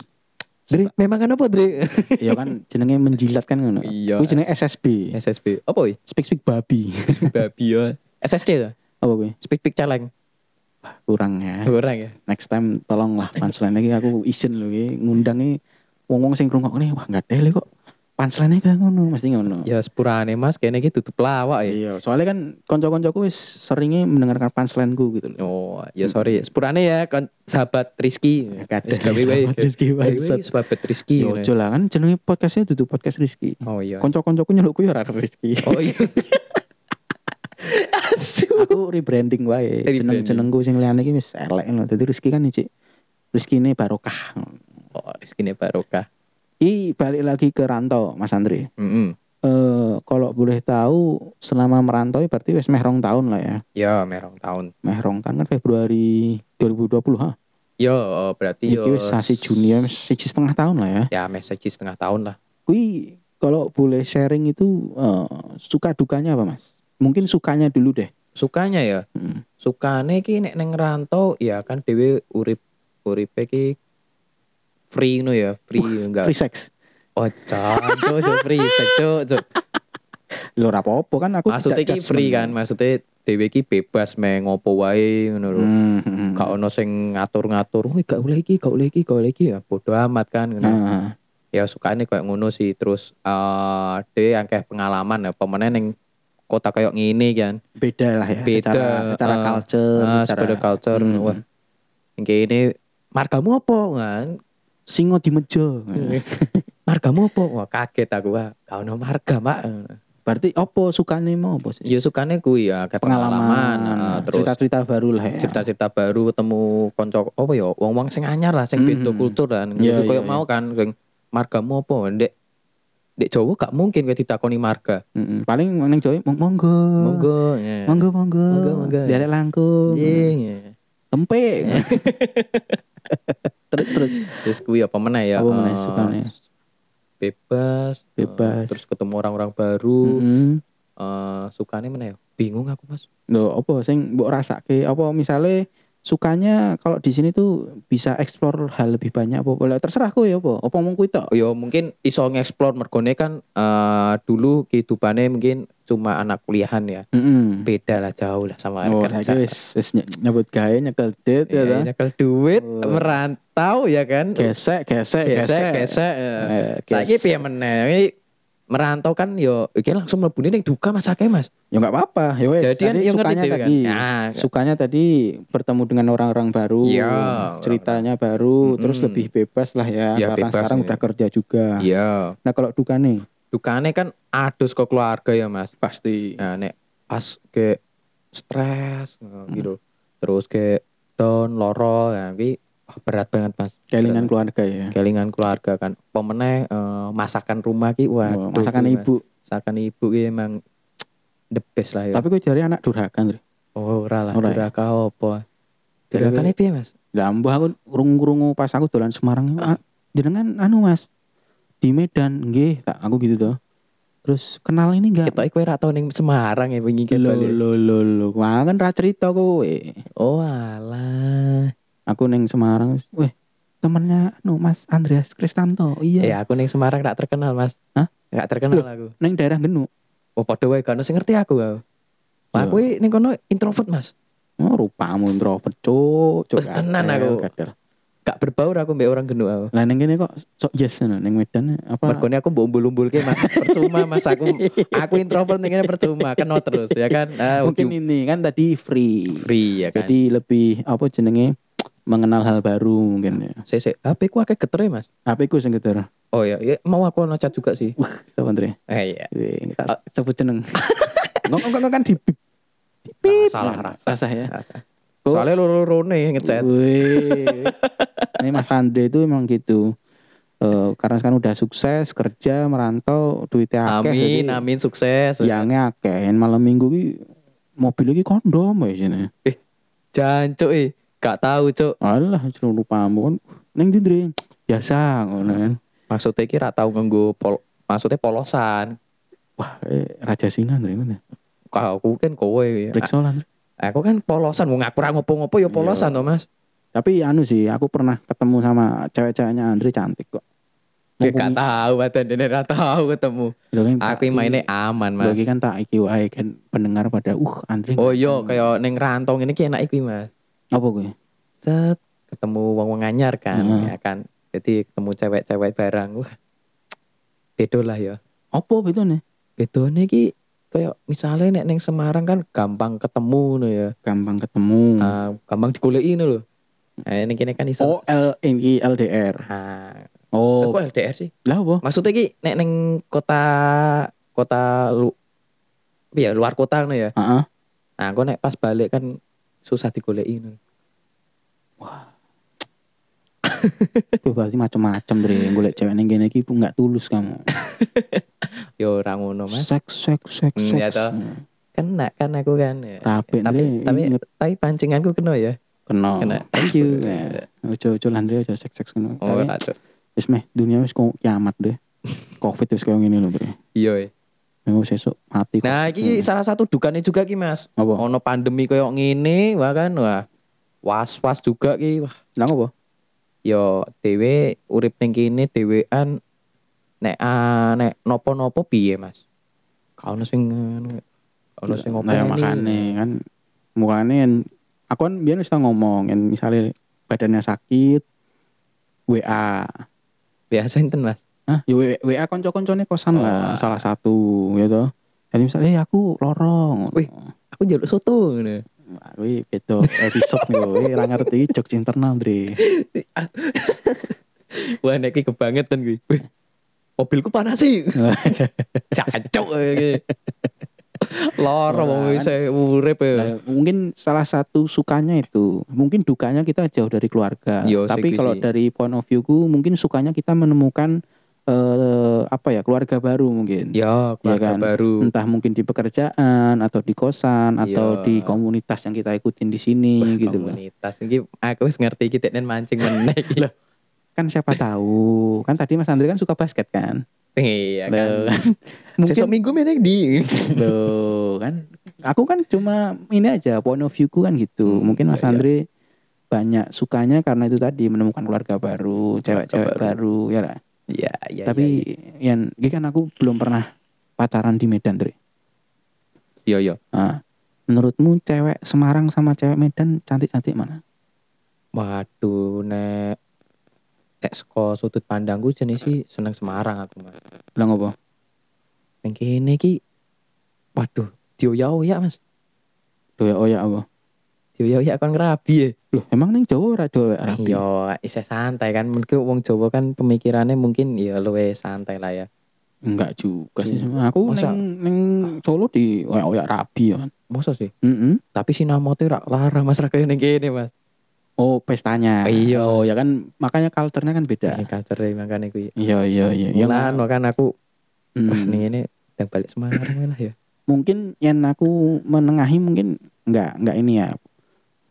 Speaker 2: Dri, memang kan apa, Dri?
Speaker 1: iya kan jenenge menjilat kan ngono.
Speaker 2: Iya.
Speaker 1: Kuwi jenenge SSB.
Speaker 2: SSB. Apa kuwi?
Speaker 1: Speak speak babi.
Speaker 2: Babi ya. SSC ta?
Speaker 1: Apa kuwi?
Speaker 2: Speak speak caleng.
Speaker 1: Kurang ya.
Speaker 2: Kurang ya.
Speaker 1: next time tolonglah punchline iki aku izin lho iki ngundangi wong-wong sing ngrungokne wah enggak dele kok punchline gak ngono mesti ngono.
Speaker 2: Ya sepurane Mas kene iki tutup lawak ya.
Speaker 1: Iya, soalnya kan kanca-kancaku wis seringnya mendengarkan punchline-ku gitu loh.
Speaker 2: Oh, ya sorry. Sepurane ya kon sahabat Rizky. Iya. Wis gawe wae.
Speaker 1: Sahabat Rizky
Speaker 2: Gawe wae,
Speaker 1: Bangsat.
Speaker 2: Sahabat Rizky. gitu.
Speaker 1: Iya, ojo lah kan jenenge podcastnya dudu podcast Rizky.
Speaker 2: Oh iya.
Speaker 1: Kanca-kancaku nyelukku ya ora ada Rizky. [laughs]
Speaker 2: Oh iya. Asu.
Speaker 1: aku rebranding wae.
Speaker 2: Rebranding.
Speaker 1: Jeneng-jenengku sing liyane iki wis elek lho. Dadi Rizky kan iki Rizky ini barokah.
Speaker 2: Oh, Rizky ini barokah.
Speaker 1: I balik lagi ke rantau Mas Andre.
Speaker 2: Mm
Speaker 1: eh kalau boleh tahu selama merantau ya berarti wis meh rong tahun lah ya.
Speaker 2: Ya, merong tahun.
Speaker 1: Meh rong tahun kan Februari 2020 ha.
Speaker 2: Yo, eh, berarti
Speaker 1: Iki wis sasi Juni ya, wis siji setengah tahun lah ya.
Speaker 2: Ya, message setengah tahun lah.
Speaker 1: Kui kalau boleh sharing itu eh, suka dukanya apa Mas? Mungkin sukanya dulu deh.
Speaker 2: Sukanya ya,
Speaker 1: Hmm.
Speaker 2: sukane ki nek neng rantau ya kan dhewe urip uripe ki free no ya, free enggak.
Speaker 1: Free sex.
Speaker 2: Oh, cok, cok, cok, free, cok, cok, cok.
Speaker 1: Lho ora apa-apa kan aku
Speaker 2: Maksudnya
Speaker 1: tidak
Speaker 2: ki free kan,
Speaker 1: judgement.
Speaker 2: maksudnya dhewe ki bebas me ngopo wae ngono lho.
Speaker 1: Hmm, hmm, hmm.
Speaker 2: Gak ono sing ngatur-ngatur, "Wih, gak boleh iki, gak boleh iki, gak boleh iki." Ya bodo amat kan ngono.
Speaker 1: Nah,
Speaker 2: ya sukane kayak ngono sih terus eh dhewe akeh pengalaman ya pemene ning kota kayak ngene kan
Speaker 1: beda lah ya
Speaker 2: Beda,
Speaker 1: secara secara
Speaker 2: eh,
Speaker 1: culture,
Speaker 2: Ah,
Speaker 1: secara
Speaker 2: sepeda culture
Speaker 1: Hmm.
Speaker 2: wah yang kayak ini margamu apa kan
Speaker 1: singo di meja.
Speaker 2: Hmm.
Speaker 1: [laughs]
Speaker 2: margamu apa wah kaget aku wah kau no marga mak
Speaker 1: Berarti opo sukane mau apa sih?
Speaker 2: ya sukane kui ya kayak pengalaman, ah, terus cerita
Speaker 1: eh, cerita-cerita baru lah ya.
Speaker 2: cerita baru ketemu konco apa ya wong wong sing anyar lah sing beda
Speaker 1: Mhm.
Speaker 2: kultur kan
Speaker 1: Iya, iya,
Speaker 2: Jadi kayak
Speaker 1: iya.
Speaker 2: mau kan sing margamu apa ndek ndek Jawa gak mungkin kayak ditakoni marga
Speaker 1: Mm-mm. Paling neng Jawa mong- monggo.
Speaker 2: monggo ya.
Speaker 1: Hmm. Monggo monggo.
Speaker 2: Monggo, monggo.
Speaker 1: Dialek langkung.
Speaker 2: Iya, iya.
Speaker 1: Tempe. terus terus
Speaker 2: [laughs] Terus kuwi apa meneh ya?
Speaker 1: Apa meneh
Speaker 2: eh,
Speaker 1: sukanya?
Speaker 2: Bebas, eh,
Speaker 1: Bebas. Hmm.
Speaker 2: terus ketemu orang-orang baru.
Speaker 1: Mm-mm.
Speaker 2: eh, sukanya meneh ya? Bingung aku, Mas.
Speaker 1: Loh, apa sing mbok rasake? Apa misalnya sukanya kalau di sini tuh bisa explore hal lebih banyak apa boleh terserah kowe ya apa apa mung kuwi tok
Speaker 2: Ya mungkin iso ngeksplor mergone kan eh, dulu kehidupannya mungkin cuma anak kuliahan ya.
Speaker 1: heeh
Speaker 2: Beda lah jauh lah sama
Speaker 1: oh
Speaker 2: kerja.
Speaker 1: saiki wis wis ny- nyebut gawe nyekel dit ya ta
Speaker 2: Ya, nyekel duit,
Speaker 1: Oh.
Speaker 2: merantau ya kan.
Speaker 1: gesek gesek gesek
Speaker 2: gesek. gesek, eh.
Speaker 1: Eh, gesek.
Speaker 2: Saiki piye meneh? Ini Merantau kan yo iki langsung mlebune ning duka Mas Ake, Mas.
Speaker 1: ya nggak apa-apa ya wes
Speaker 2: Jadi kan
Speaker 1: tadi
Speaker 2: yo ngerti
Speaker 1: sukanya
Speaker 2: dhewe kan.
Speaker 1: tadi
Speaker 2: Nah,
Speaker 1: sukanya tadi bertemu dengan orang-orang baru,
Speaker 2: Iya,
Speaker 1: ceritanya baru,
Speaker 2: Mm-mm.
Speaker 1: terus lebih bebas lah ya,
Speaker 2: Iya,
Speaker 1: karena
Speaker 2: bebas,
Speaker 1: sekarang
Speaker 2: ya.
Speaker 1: udah kerja juga.
Speaker 2: iya.
Speaker 1: Nah kalau duka nih
Speaker 2: dukane kan adus ke keluarga ya mas
Speaker 1: pasti
Speaker 2: nah nek pas ke stres nah, gitu
Speaker 1: Hmm.
Speaker 2: terus ke down loro ya tapi wah, berat banget mas
Speaker 1: kelingan
Speaker 2: Iya.
Speaker 1: keluarga ya.
Speaker 2: kelingan keluarga kan pemenang masakan rumah ki
Speaker 1: Wah, Oh,
Speaker 2: waduh iya.
Speaker 1: masakan
Speaker 2: ki, Mas.
Speaker 1: ibu.
Speaker 2: masakan ibu ki emang the best lah ya
Speaker 1: Tapi kok jari anak durhaka, Ndri.
Speaker 2: oh ora lah
Speaker 1: Ora ya?
Speaker 2: duraka apa
Speaker 1: Duraka
Speaker 2: duraka piye mas
Speaker 1: Lah mbah aku urung-urungu pas aku dolan Semarang. "Ah, Jenengan anu Mas, di Medan nggih tak aku gitu toh terus kenal ini enggak
Speaker 2: Ketok kowe ra tau ning Semarang ya wingi
Speaker 1: lo
Speaker 2: ketok.
Speaker 1: lo lo lo wah kan ra cerita kowe
Speaker 2: Oh alah.
Speaker 1: aku neng Semarang weh temennya no Mas Andreas Kristanto
Speaker 2: Ya
Speaker 1: iya
Speaker 2: aku ning Semarang gak terkenal, Mas.
Speaker 1: Hah?
Speaker 2: Gak terkenal
Speaker 1: Loh.
Speaker 2: aku.
Speaker 1: neng daerah Genuk
Speaker 2: Oh padha wae gak ono sing ngerti aku. aku. Wah,
Speaker 1: Iya.
Speaker 2: aku ning kono introvert, Mas.
Speaker 1: oh rupamu introvert cuk cuk
Speaker 2: Wes, tenan
Speaker 1: gatel,
Speaker 2: aku.
Speaker 1: gatel.
Speaker 2: Gak berbaur aku mbek orang genuk aku.
Speaker 1: lah neng kene kok sok yes no, neng Medan apa
Speaker 2: Mergone aku mbok umbul-umbulke Mas. Percuma Mas aku
Speaker 1: [laughs]
Speaker 2: aku introvert ning kene percuma, kena terus ya kan. Ah,
Speaker 1: mungkin
Speaker 2: ugi-
Speaker 1: ini kan tadi free
Speaker 2: free ya kan.
Speaker 1: jadi
Speaker 2: Jadi
Speaker 1: lebih apa jenenge mengenal hal baru mungkin ya
Speaker 2: sik HP ku akeh getere, Mas.
Speaker 1: HP ku sing geter
Speaker 2: Oh iya, iya, mau aku ono chat juga sih.
Speaker 1: wah sapa Andre
Speaker 2: Eh iya.
Speaker 1: Wih, tak sebut jeneng.
Speaker 2: [laughs]
Speaker 1: Ngomong ngomong kan di bip.
Speaker 2: Nah, salah ra.
Speaker 1: Rasah ya. Kok-
Speaker 2: Soalnya loro-lorone ngechat.
Speaker 1: Wih. Ini Mas Andre itu emang gitu. Eh, karena sekarang udah sukses kerja merantau duitnya akeh
Speaker 2: Amin,
Speaker 1: jadi Ya.
Speaker 2: amin sukses.
Speaker 1: yangnya akeh malam minggu ki mobil iki kondom ya sini
Speaker 2: Jancuk eh, gak tahu cuk.
Speaker 1: alah jeneng lupamu kan ning ndi Andre biasa ngono
Speaker 2: Hmm.
Speaker 1: kan
Speaker 2: Maksudnya iki ra tau nganggo pol maksudnya polosan.
Speaker 1: wah eh, raja singa Andre ngono
Speaker 2: Kalau aku kan kowe. ya.
Speaker 1: periksa lah, Andre.
Speaker 2: A- Aku kan polosan, wong aku ra ngopo-ngopo ya
Speaker 1: Iya.
Speaker 2: polosan to, Mas.
Speaker 1: tapi anu sih aku pernah ketemu sama cewek-ceweknya Andre cantik kok
Speaker 2: Ya gak tahu badan ra tau ketemu. Aku
Speaker 1: Aku
Speaker 2: yang mainnya aman, Mas.
Speaker 1: Bagi kan tak kan, iki wae kan pendengar pada uh Andre.
Speaker 2: Oh iya, kayak ning rantau ngene iki enak iki, Mas.
Speaker 1: apa gue?
Speaker 2: Set ketemu wong-wong anyar kan,
Speaker 1: Heeh.
Speaker 2: ya kan. Jadi ketemu cewek-cewek barang. Wah. Beda lah ya.
Speaker 1: Apa gitu nih?
Speaker 2: Bedone iki kayak misalnya nek ning Semarang kan gampang ketemu no ya.
Speaker 1: Gampang ketemu.
Speaker 2: Ah, gampang digoleki ngono lho.
Speaker 1: Hmm.
Speaker 2: Nah, ini kene kan iso.
Speaker 1: O Oh, L N I L D R.
Speaker 2: Ah,
Speaker 1: Oh,
Speaker 2: kok LDR sih?
Speaker 1: lah apa?
Speaker 2: Maksudnya ki nek ning kota kota lu ya luar kota ngono ya.
Speaker 1: Heeh.
Speaker 2: Nah, aku nek pas balik kan susah digoleki ngono.
Speaker 1: Gue pasti macam-macam dari golek cewek ning kene iki enggak tulus kamu.
Speaker 2: Ya ora ngono, Mas.
Speaker 1: Sek sek sek
Speaker 2: Hmm,
Speaker 1: sek.
Speaker 2: ya toh. Kena kan aku kan. Ya.
Speaker 1: Rapi
Speaker 2: tapi
Speaker 1: Andre.
Speaker 2: tapi
Speaker 1: Ingat.
Speaker 2: tapi pancinganku kena ya.
Speaker 1: kena.
Speaker 2: Kena.
Speaker 1: Thank you.
Speaker 2: Masuk.
Speaker 1: Ya. Ojo-ojo lah Andre ojo sek sek kena.
Speaker 2: Oh,
Speaker 1: Kayak,
Speaker 2: ora cuk.
Speaker 1: Wis meh dunia wis kok kiamat deh. Covid wis koyo ngene lho, Andre.
Speaker 2: Iya. iya.
Speaker 1: Minggu sesuk mati.
Speaker 2: Nah,
Speaker 1: Covid.
Speaker 2: iki Oh, salah satu dukane juga ki, Mas.
Speaker 1: apa?
Speaker 2: Ono pandemi koyo ngene, wah kan wah. Was-was juga ki. Wah,
Speaker 1: Nang apa?
Speaker 2: yo dhewe urip ning kene dhewean nek ah, nek nopo-nopo piye, Mas? Ka ono sing ngono. Ono sing
Speaker 1: Nah,
Speaker 2: ngopo.
Speaker 1: ya makane kan mulane kan aku kan biar wis tau ngomong kan misalnya badannya sakit WA
Speaker 2: Biasa enten, Mas.
Speaker 1: Hah? Ya, W- WA konco-koncone kosan
Speaker 2: Oh,
Speaker 1: lah
Speaker 2: ah.
Speaker 1: salah satu ya toh. Jadi misalnya "Eh, aku lorong.
Speaker 2: Wih. Aku njaluk soto ngono.
Speaker 1: Wih, beda episode gue, ora ngerti jokes internal, Dre.
Speaker 2: Wah, nek iki kebangetan kuwi. Wih. Mobilku panas sih. [laughs] Cacok iki. Loro wong
Speaker 1: Ora,
Speaker 2: wis urip ya.
Speaker 1: Nah, mungkin salah satu sukanya itu, mungkin dukanya kita jauh dari keluarga.
Speaker 2: Yo,
Speaker 1: Tapi
Speaker 2: sih,
Speaker 1: kalau
Speaker 2: sih.
Speaker 1: dari point of view-ku, mungkin sukanya kita menemukan eh, apa ya, keluarga baru mungkin.
Speaker 2: Ya, keluarga
Speaker 1: kan?
Speaker 2: baru.
Speaker 1: entah mungkin di pekerjaan atau di kosan atau
Speaker 2: Iya.
Speaker 1: di komunitas yang kita ikutin di sini
Speaker 2: Wah,
Speaker 1: gitu loh.
Speaker 2: komunitas iki aku wis ngerti iki teknen mancing meneh iki.
Speaker 1: Kan siapa tahu. Kan tadi Mas Andre kan suka basket kan?
Speaker 2: Iya kan.
Speaker 1: Loh, [laughs]
Speaker 2: Sesuk
Speaker 1: mungkin
Speaker 2: minggu meneh di.
Speaker 1: loh, kan aku kan cuma ini aja point of view-ku kan gitu.
Speaker 2: Hmm,
Speaker 1: mungkin Mas
Speaker 2: iya, iya.
Speaker 1: Andre banyak sukanya karena itu tadi menemukan keluarga baru, cewek-cewek baru.
Speaker 2: baru.
Speaker 1: ya lah.
Speaker 2: Iya, iya.
Speaker 1: Tapi yang ini kan aku belum pernah pacaran di Medan, Dre.
Speaker 2: yo yo.
Speaker 1: Nah, menurutmu cewek Semarang sama cewek Medan cantik-cantik mana?
Speaker 2: Waduh nek nek saka sudut pandangku jenis sih seneng Semarang aku Mas.
Speaker 1: Lah ngopo?
Speaker 2: Ning kene iki waduh dioyak-oyak Mas.
Speaker 1: Doya oya apa?
Speaker 2: Dioyak-oyak kon ngerabi ya.
Speaker 1: Loh, emang ning Jawa ora doya ya? rapi.
Speaker 2: Yo, isih santai kan. Mungkin wong Jawa kan pemikirannya mungkin ya luwe santai lah ya.
Speaker 1: Enggak juga sih.
Speaker 2: Ju-
Speaker 1: Sama. Iya. Aku
Speaker 2: Masa-
Speaker 1: ning ning Solo di oya oya rapi ya.
Speaker 2: Masa sih?
Speaker 1: Mm
Speaker 2: Tapi sinamote rak larang Mas ra kaya ning kene Mas.
Speaker 1: Oh, pestanya.
Speaker 2: Iya.
Speaker 1: Oh, ya kan makanya culture-nya kan beda.
Speaker 2: Ini kacere e makane kuwi.
Speaker 1: Iya, iya, iya. Ya,
Speaker 2: Mulan kan aku
Speaker 1: mm.
Speaker 2: wah ning ini yang balik Semarang wae lah ya.
Speaker 1: mungkin yang aku menengahi mungkin enggak enggak ini ya.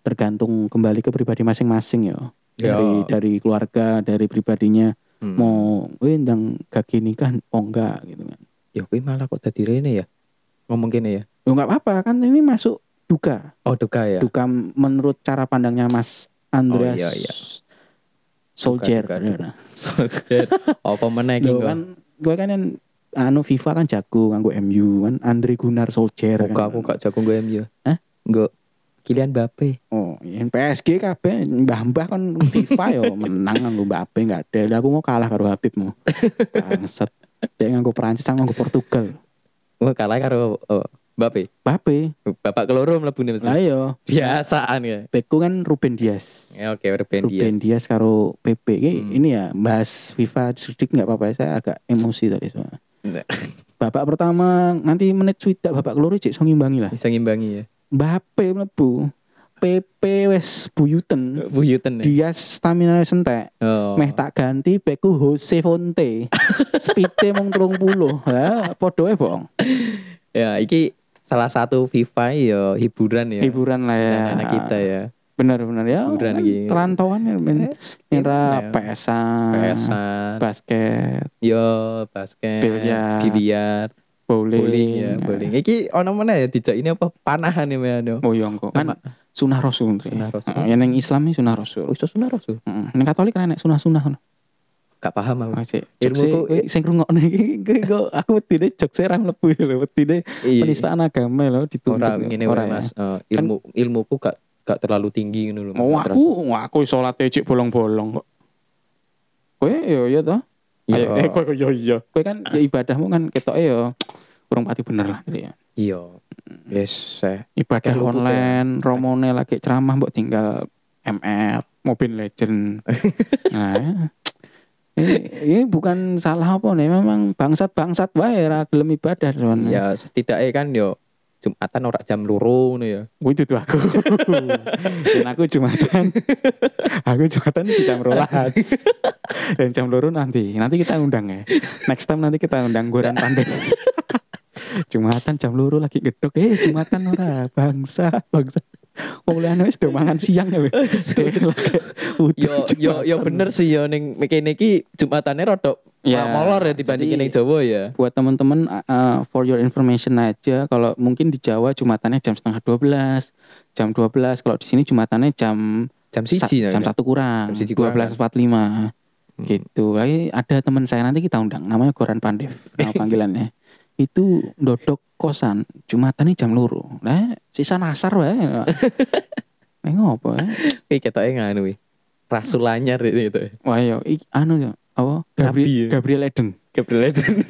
Speaker 1: Tergantung kembali ke pribadi masing-masing ya. Dari dari keluarga, dari pribadinya.
Speaker 2: Iya. Hmm.
Speaker 1: mau eh ndang gak nikah oh enggak gitu kan
Speaker 2: ya kuwi malah kok dadi rene ya. Ngomong kene ya.
Speaker 1: ya nggak apa-apa kan ini masuk duka
Speaker 2: Oh, duka ya.
Speaker 1: duka menurut cara pandangnya Mas Andreas
Speaker 2: Oh, iya, iya.
Speaker 1: Soldier
Speaker 2: Duka, duka,
Speaker 1: Ya,
Speaker 2: duka.
Speaker 1: nah.
Speaker 2: Solskjaer. Apa meneh iki
Speaker 1: Loh,
Speaker 2: kok.
Speaker 1: kan gue kan yang anu FIFA kan jago nganggo MU kan Andre Gunar Soldier kan.
Speaker 2: Muka aku gak jago gue MU.
Speaker 1: Hah?
Speaker 2: Enggak. Kylian Mbappe.
Speaker 1: Oh, yang PSG kabeh mbah-mbah kan FIFA
Speaker 2: [laughs]
Speaker 1: yo menang nganggo Mbappe enggak ada. Lah aku mau kalah karo Habibmu. Bangsat. Dia nganggo Prancis, aku nganggo Portugal.
Speaker 2: Wah, kalah karo oh, Mbappe.
Speaker 1: Mbappe.
Speaker 2: Bapak keloro mlebu nih
Speaker 1: Lah
Speaker 2: mesti.
Speaker 1: yo,
Speaker 2: Biasaan ya.
Speaker 1: beku kan Ruben Dias.
Speaker 2: Ya oke, Ruben Dias.
Speaker 1: Ruben Dias karo PP Ki,
Speaker 2: Hmm.
Speaker 1: ini ya bahas FIFA sedikit nggak apa-apa saya agak emosi tadi soalnya.
Speaker 2: Nggak. [laughs]
Speaker 1: Babak pertama nanti menit swidak babak keloro cek iso ngimbangi lah.
Speaker 2: Bisa ngimbangi ya.
Speaker 1: Mbappe mlebu. PP wes buyuten.
Speaker 2: Buyuten ya.
Speaker 1: Dias stamina wis entek.
Speaker 2: Oh.
Speaker 1: Meh tak ganti beku Jose
Speaker 2: [laughs]
Speaker 1: Fonte. Spite mung 30. Lah podo e bohong.
Speaker 2: Ya, iki salah satu FIFA ya hiburan ya.
Speaker 1: Hiburan lah ya.
Speaker 2: Anak kita ya.
Speaker 1: Bener bener ya.
Speaker 2: Hiburan Eh,
Speaker 1: kan
Speaker 2: iki.
Speaker 1: Rantauan ya men. Nira
Speaker 2: Ya.
Speaker 1: PSan,
Speaker 2: Pesan,
Speaker 1: basket,
Speaker 2: yo basket,
Speaker 1: Biliar.
Speaker 2: biliar,
Speaker 1: bowling, Nah,
Speaker 2: bowling ya, bowling. Iki ono mana ya? Tidak ini apa panahan ya Mano?
Speaker 1: Boyong kok. Kan sunah rasul. Tri.
Speaker 2: Sunah rasul.
Speaker 1: Heeh, yang ning Islam iki sunah rasul.
Speaker 2: Oh, iso sunah rasul.
Speaker 1: Heeh. Ning Katolik kan enek sunah-sunah.
Speaker 2: Gak paham aku.
Speaker 1: Masih.
Speaker 2: Ilmu
Speaker 1: Ilmu
Speaker 2: kok-
Speaker 1: sing rungokne iki iki kok aku wedine jokse ra mlebu lho, wedine penistaan agama lho dituntut.
Speaker 2: Iya,
Speaker 1: ya.
Speaker 2: Ora ngene wae Mas. Eh, ilmu ilmuku gak gak terlalu tinggi ngono lho.
Speaker 1: Mau
Speaker 2: Gak
Speaker 1: Kan- Oh, aku, wah, aku sholat cek bolong-bolong kok. Kowe yo yo toh.
Speaker 2: terlalu-
Speaker 1: Ayo, eh kowe kowe yo yo. Kowe kan ya ibadahmu kan ketoke yo kurang pati bener lah Tri, ya.
Speaker 2: Iya.
Speaker 1: Mm.
Speaker 2: Yes. eh.
Speaker 1: Ibadah
Speaker 2: Kayak luput,
Speaker 1: online, romone lagi ceramah mbok tinggal MR, Mobile Legend. [laughs] nah. Ini, ini bukan salah apa nih, memang bangsat-bangsat wae ra gelem ibadah soalnya.
Speaker 2: Ya setidaknya kan yo Jumatan ora jam loro ngono ya.
Speaker 1: Kuwi dudu [laughs] aku. Dan aku [laughs] Jumatan. aku Jumatan di jam 12. Dan jam loro nanti. Nanti kita undang ya. Next time nanti kita undang Goran
Speaker 2: [laughs]
Speaker 1: Pandey. Jumatan jam loro lagi gedok. Eh Jumatan ora bangsa, bangsa. Mulane wis do mangan siang
Speaker 2: [laughs]
Speaker 1: ya. lho. Udah
Speaker 2: Yo
Speaker 1: [laughs]
Speaker 2: yo yo
Speaker 1: Jumatan.
Speaker 2: bener sih yo ning kene iki Jumatane rodok
Speaker 1: Ya,
Speaker 2: molor ya dibandingin
Speaker 1: jadi-
Speaker 2: ning Jawa ya.
Speaker 1: buat teman-teman uh, uh, for your information aja kalau mungkin di Jawa jumatannya jam setengah 12 jam 12 kalau di sini jumatannya jam
Speaker 2: Jam
Speaker 1: Sa-
Speaker 2: siji ya.
Speaker 1: jam satu kurang
Speaker 2: Jam siji
Speaker 1: dua
Speaker 2: kurang,
Speaker 1: belas empat lima
Speaker 2: Hmm.
Speaker 1: gitu Ay, ada teman saya nanti kita undang namanya Goran Pandev
Speaker 2: [laughs]
Speaker 1: nama panggilannya itu dodok kosan jumatan jam loro nah sisa nasar
Speaker 2: [laughs]
Speaker 1: wae nengok apa ya
Speaker 2: Kayak ketoknya Hmm. nganu wih. Rasul anyar itu
Speaker 1: [laughs]
Speaker 2: gitu.
Speaker 1: wah yo ik- anu yo apa
Speaker 2: Nabi ya.
Speaker 1: Gabri- Gabriel Eden
Speaker 2: Gabriel Eden.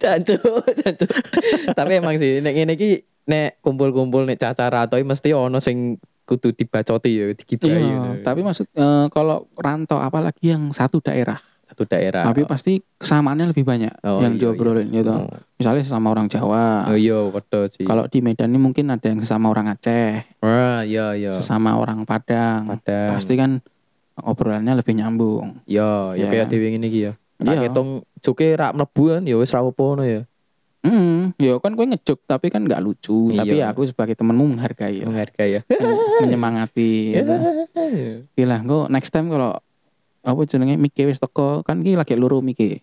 Speaker 2: Jancu, jancu. [laughs] Tapi emang sih nek ngene iki nek kumpul-kumpul nek cacara atau mesti ono sing kudu dibacoti ya digibai.
Speaker 1: iya tapi maksud eh, kalau rantau apalagi yang satu daerah
Speaker 2: satu daerah.
Speaker 1: tapi pasti kesamaannya lebih banyak
Speaker 2: Ah, Oh,
Speaker 1: yang
Speaker 2: iya,
Speaker 1: diobrolin gitu
Speaker 2: Oh.
Speaker 1: misalnya sama orang Jawa
Speaker 2: Oh iya, padha sih.
Speaker 1: kalau di Medan ini mungkin ada yang sama orang Aceh
Speaker 2: Wah, iya iya.
Speaker 1: sesama orang Padang
Speaker 2: Padang.
Speaker 1: pasti kan obrolannya lebih nyambung
Speaker 2: Iya, ya
Speaker 1: Ya.
Speaker 2: kayak dhewe ngene iki ya. Tak
Speaker 1: Iya.
Speaker 2: ketung cuke rak mlebu kan ya wis ra opo ngono ya.
Speaker 1: hmm ya kan gue ngejok tapi kan nggak lucu
Speaker 2: Iya.
Speaker 1: tapi ya aku sebagai temenmu menghargai
Speaker 2: [laughs]
Speaker 1: ya.
Speaker 2: Menghargai ya.
Speaker 1: menyemangati
Speaker 2: Iya,
Speaker 1: ya.
Speaker 2: [laughs]
Speaker 1: Gila, gue next time kalau apa jenenge Miki wis teko kan ki lagi luru Miki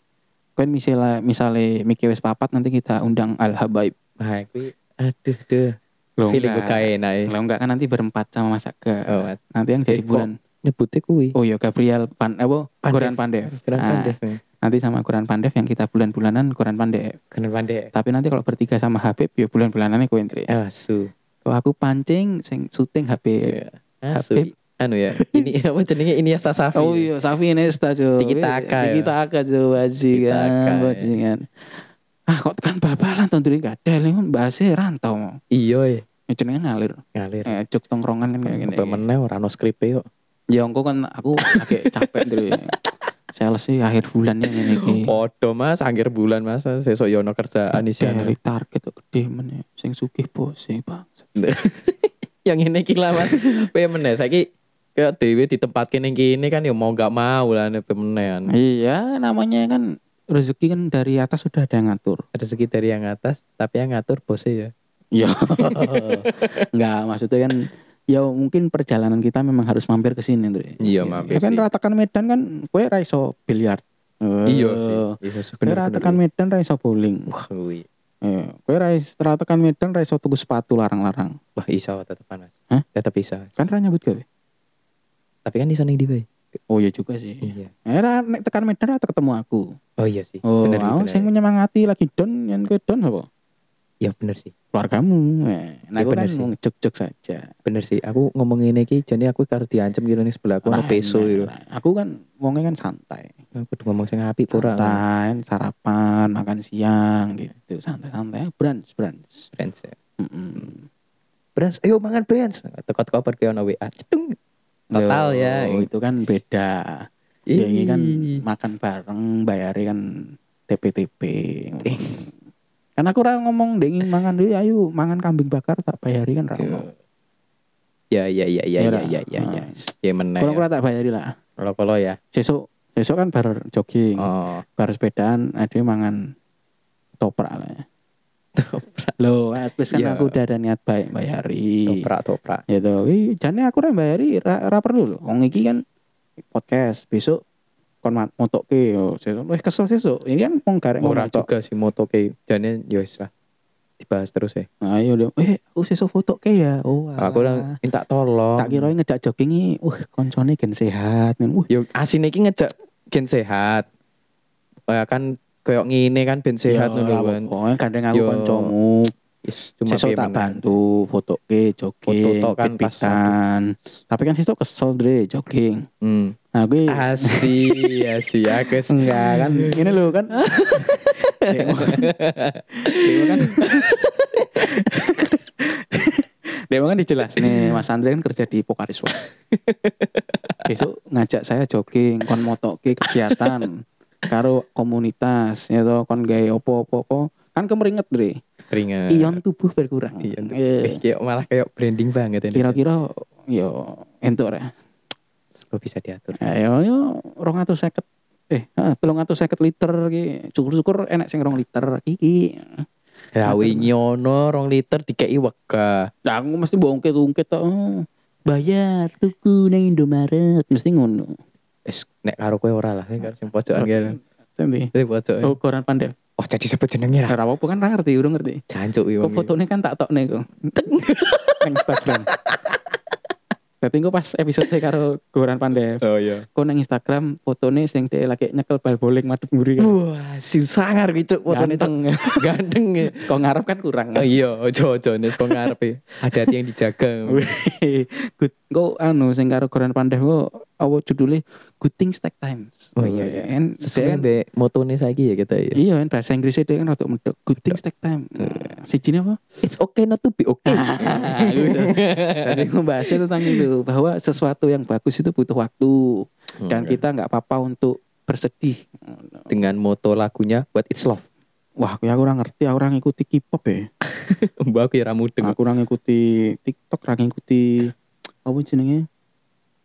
Speaker 1: kan misalnya misalnya Miki wis papat nanti kita undang Al Habaib
Speaker 2: Nah, kuwi aduh duh.
Speaker 1: lo
Speaker 2: Feeling gue kae enak. ya.
Speaker 1: lo enggak kan nanti berempat sama Mas Aga
Speaker 2: Oh, Mas.
Speaker 1: nanti yang jadi
Speaker 2: Eh, kok-
Speaker 1: bulan
Speaker 2: nyebutnya kuwi.
Speaker 1: oh iya Gabriel Pan apa
Speaker 2: Pandev.
Speaker 1: Goran Pandev
Speaker 2: Keren
Speaker 1: Ah,
Speaker 2: pandai.
Speaker 1: nanti sama Goran Pandev yang kita bulan-bulanan Goran Pandev
Speaker 2: Keren pandai.
Speaker 1: Tapi nanti kalau bertiga sama Habib ya bulan-bulanannya kowe Ndri.
Speaker 2: Ah, Asu.
Speaker 1: Kalau aku pancing sing syuting Habib.
Speaker 2: Iya. Asu. Anu [laughs] ya. Ini apa jenenge ini Yasa Safi. ya?
Speaker 1: Oh iya, Safi Nesta cuy.
Speaker 2: Tiki Taka, ya.
Speaker 1: Tiki Taka cuy,
Speaker 2: Tiki Taka,
Speaker 1: bajingan,
Speaker 2: ya.
Speaker 1: bajingan. kan. Ah kok kan bal-balan tahun dulu gak ada, ini bahasnya rantau mau.
Speaker 2: Iya. ya.
Speaker 1: Ya jenenge ngalir,
Speaker 2: Ngalir.
Speaker 1: eh, juk tongkrongan
Speaker 2: Hmm,
Speaker 1: kan kayak gini.
Speaker 2: Apa meneh ora ono skripe yo.
Speaker 1: Ya engko kan aku agak capek dulu. Sales sih akhir bulan ini ini.
Speaker 2: Iya.
Speaker 1: iki.
Speaker 2: Podo Mas, angger bulan Mas, sesuk yo ono kerjaan anu. isian.
Speaker 1: Dari target tuh gede meneh, sing sugih bos sih bang.
Speaker 2: Yang ini iki lah [laughs] Mas. Pe meneh saiki ke dhewe ditempatke ning kene kan yo mau gak mau lah pe meneh kan.
Speaker 1: Iya, namanya kan rezeki kan dari atas sudah ada yang ngatur.
Speaker 2: Rezeki dari yang atas, tapi yang ngatur bosnya ya.
Speaker 1: Iya. Enggak, maksudnya kan ya mungkin perjalanan kita memang harus mampir ke sini Ndre.
Speaker 2: Iya, mampir
Speaker 1: Ya kan
Speaker 2: sih.
Speaker 1: ratakan Medan kan kowe ra iso biliar. Eh,
Speaker 2: Iya sih. Iya sih
Speaker 1: Kowe ratakan Medan ra iso bowling.
Speaker 2: Wah, kuwi.
Speaker 1: Eh, kowe ra is- ra tekan Medan ra iso tuku sepatu larang-larang.
Speaker 2: Wah, iso tetep panas.
Speaker 1: Hah?
Speaker 2: Tetep iso.
Speaker 1: Kan ra nyebut kowe.
Speaker 2: Tapi kan iso ning ndi bae?
Speaker 1: Oh iya juga sih.
Speaker 2: Iya.
Speaker 1: Eh ra nek tekan Medan ra ketemu aku.
Speaker 2: Oh iya sih.
Speaker 1: Oh,
Speaker 2: bener,
Speaker 1: aku
Speaker 2: bener.
Speaker 1: sing menyemangati lagi don yang kowe don apa?
Speaker 2: Ya bener sih.
Speaker 1: Keluargamu. Eh, nah,
Speaker 2: Ya,
Speaker 1: aku kan
Speaker 2: bener sih.
Speaker 1: mau jog-jog saja.
Speaker 2: Bener sih. Aku ngomong ngene iki jane aku karo diancem gitu ning sebelah aku ono
Speaker 1: Ra
Speaker 2: peso
Speaker 1: enak,
Speaker 2: gitu.
Speaker 1: ra. Aku kan wongnya kan santai.
Speaker 2: Aku kudu ngomong sing apik kurang.
Speaker 1: santai sarapan makan siang gitu santai-santai brunch brunch
Speaker 2: Friends.
Speaker 1: Mm-mm.
Speaker 2: Brands, ayo mangan Brands. Tekot koper ke ono WA. Cedung. Total
Speaker 1: Loh,
Speaker 2: ya.
Speaker 1: itu kan beda ya ini kan makan bareng bayarnya kan TPTP
Speaker 2: Eh.
Speaker 1: kan aku ra ngomong dengin mangan dulu ayo mangan kambing bakar tak bayari kan ra ngomong.
Speaker 2: Ya ya ya ya
Speaker 1: Ya,
Speaker 2: ya
Speaker 1: lah.
Speaker 2: ya ya. ya.
Speaker 1: Ah.
Speaker 2: Ya meneh.
Speaker 1: kurang-kurang tak bayari lah
Speaker 2: Kalau kalau ya.
Speaker 1: sesuk sesuk kan bar jogging
Speaker 2: Oh. [laughs]
Speaker 1: bar sepedaan ada yang mangan toprak lah ya. Loh, at least kan
Speaker 2: Ya.
Speaker 1: aku udah ada niat baik bayari.
Speaker 2: Toprak toprak.
Speaker 1: gitu wih jane aku ora mbayari ra, ra perlu lho wong iki kan podcast besok kon mat- motoke yo sesuk wis kesel sesuk ini kan wong garek ngomong
Speaker 2: Ora
Speaker 1: tok
Speaker 2: juga sih moto ke jane ya wis lah. Dibahas terus ya.
Speaker 1: ayo lho eh aku sesuk fotoke ya oh
Speaker 2: Aku
Speaker 1: alah.
Speaker 2: lah minta tolong.
Speaker 1: tak kira ngejak jogging iki uh koncone gen sehat Nen, uh
Speaker 2: Yo Ya, asine iki ngejak gen sehat. Ya kan koyok ngene kan ben sehat
Speaker 1: yo,
Speaker 2: ngono
Speaker 1: ra
Speaker 2: kan.
Speaker 1: apa-apa, kadang aku
Speaker 2: Yo,
Speaker 1: kancamu
Speaker 2: Is,
Speaker 1: sesuk
Speaker 2: piye
Speaker 1: tak
Speaker 2: meneh.
Speaker 1: bantu fotoke jogging
Speaker 2: Foto tok kan pas
Speaker 1: pit-pitan. tapi kan sesuk kesel dre jogging
Speaker 2: Hmm.
Speaker 1: nah gue
Speaker 2: Asih,
Speaker 1: [laughs]
Speaker 2: asih aku s-
Speaker 1: Enggak kan
Speaker 2: Iya,
Speaker 1: ini lo kan. Dewa kan. Dewa kan. Dewa kan dijelas nih Mas Andre kan kerja di Pokariswa. Besok ngajak saya jogging, kon motoke kegiatan karo komunitas ya toh kon gawe opo-opo opo. kan kemeringet Dre.
Speaker 2: Keringet.
Speaker 1: Ion tubuh berkurang.
Speaker 2: Iya, untuk- eh,
Speaker 1: Eh,
Speaker 2: kayak malah kayak branding banget ini.
Speaker 1: Kira-kira yo entuk ya.
Speaker 2: Kok bisa diatur?
Speaker 1: Ayo Ya, yo 250 eh heeh, 350 liter ki. Syukur-syukur enak sing 2 liter iki.
Speaker 2: Rawi nyono Ya, rong liter dikei wega.
Speaker 1: Lah aku mesti mbok ungkit-ungkit tok. Oh, bayar tuku nang Indomaret mesti ngono.
Speaker 2: Es nek karo kowe ora lah, karo sing pojokan kene.
Speaker 1: Sampe.
Speaker 2: Sing pojokan.
Speaker 1: Oh, koran pandai.
Speaker 2: Oh, jadi sebut jenenge ra.
Speaker 1: Ora apa kan ra ngerti, urung ngerti.
Speaker 2: Jancuk iki.
Speaker 1: Kok fotone kan tak tokne kok. Nang Instagram. Tapi engko pas episode karo Goran Pandev,
Speaker 2: Oh iya.
Speaker 1: kok nang Instagram fotone sing dia lagi nyekel bal boling madep mburi kan.
Speaker 2: Wah, si sangar gitu fotone Cuk.
Speaker 1: Ganteng.
Speaker 2: Iya. ganteng ya.
Speaker 1: [laughs] Kok ngarep kan kurang.
Speaker 2: Oh iya, ojo ojo nes kok ngarep. ya. Hati-hati yang dijaga.
Speaker 1: Wih, [laughs] good. Kau anu sing karo Goran Pandev kok apa judulnya Good Things Take Times.
Speaker 2: Oh, iya, iya.
Speaker 1: En- dia
Speaker 2: Sesuai
Speaker 1: kan-
Speaker 2: be motone saiki ya kita ya.
Speaker 1: Iya kan bahasa Inggrisnya dia kan rada medok. Iya. Good Things Take Time. Siji [laughs] apa?
Speaker 2: It's okay not to be [laughs] okay.
Speaker 1: Gitu. Tadi membahasnya tentang itu bahwa sesuatu yang bagus itu butuh waktu dan kita nggak apa-apa untuk bersedih.
Speaker 2: dengan moto lagunya What It's Love.
Speaker 1: Wah, aku aku kurang ngerti, aku kurang ngikuti K-pop ya.
Speaker 2: Mbak aku ya ra mudeng.
Speaker 1: Aku kurang ngikuti TikTok, kurang ngikuti apa jenenge?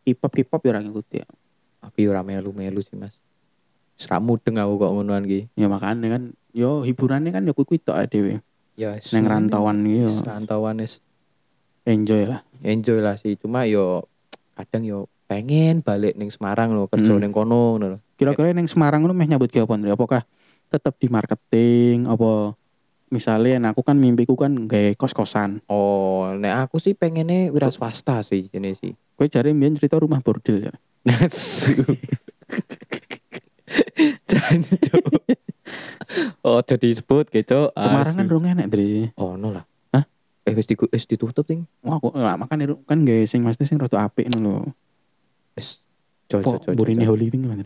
Speaker 1: K-pop, K-pop ya kurang ngikuti.
Speaker 2: Aku ya ora melu-melu sih, Mas. Wis ra mudeng aku kok ngonoan ki.
Speaker 1: Ya makanya kan yo hiburannya kan yo kuwi tok ae dhewe.
Speaker 2: Ya
Speaker 1: Nang rantauan gitu
Speaker 2: Wis Rantauan wis
Speaker 1: enjoy lah.
Speaker 2: enjoy lah sih. Cuma yo kadang yo pengen balik ning Semarang loh, kerja
Speaker 1: Hmm.
Speaker 2: ning kono ngono lho.
Speaker 1: Kira-kira neng Semarang lu meh nyambut gawe apa Ndre? Apakah tetap di marketing apa misalnya nah, aku kan mimpiku kan gawe kos-kosan.
Speaker 2: Oh, nek aku sih pengennya wira swasta sih jenis sih.
Speaker 1: Kowe jare mbiyen cerita rumah bordil ya.
Speaker 2: Nasu. Jancu. oh, jadi disebut keco.
Speaker 1: Semarang kan rong enek, Dre.
Speaker 2: Oh, no lah.
Speaker 1: Hah?
Speaker 2: Eh, wis digu- wis ditutup ting.
Speaker 1: Wah, aku lah makan kan gawe sing mesti sing rada apik ngono lho.
Speaker 2: Wis cocok
Speaker 1: Apa,
Speaker 2: cocok.
Speaker 1: Burine Holy Wing kan.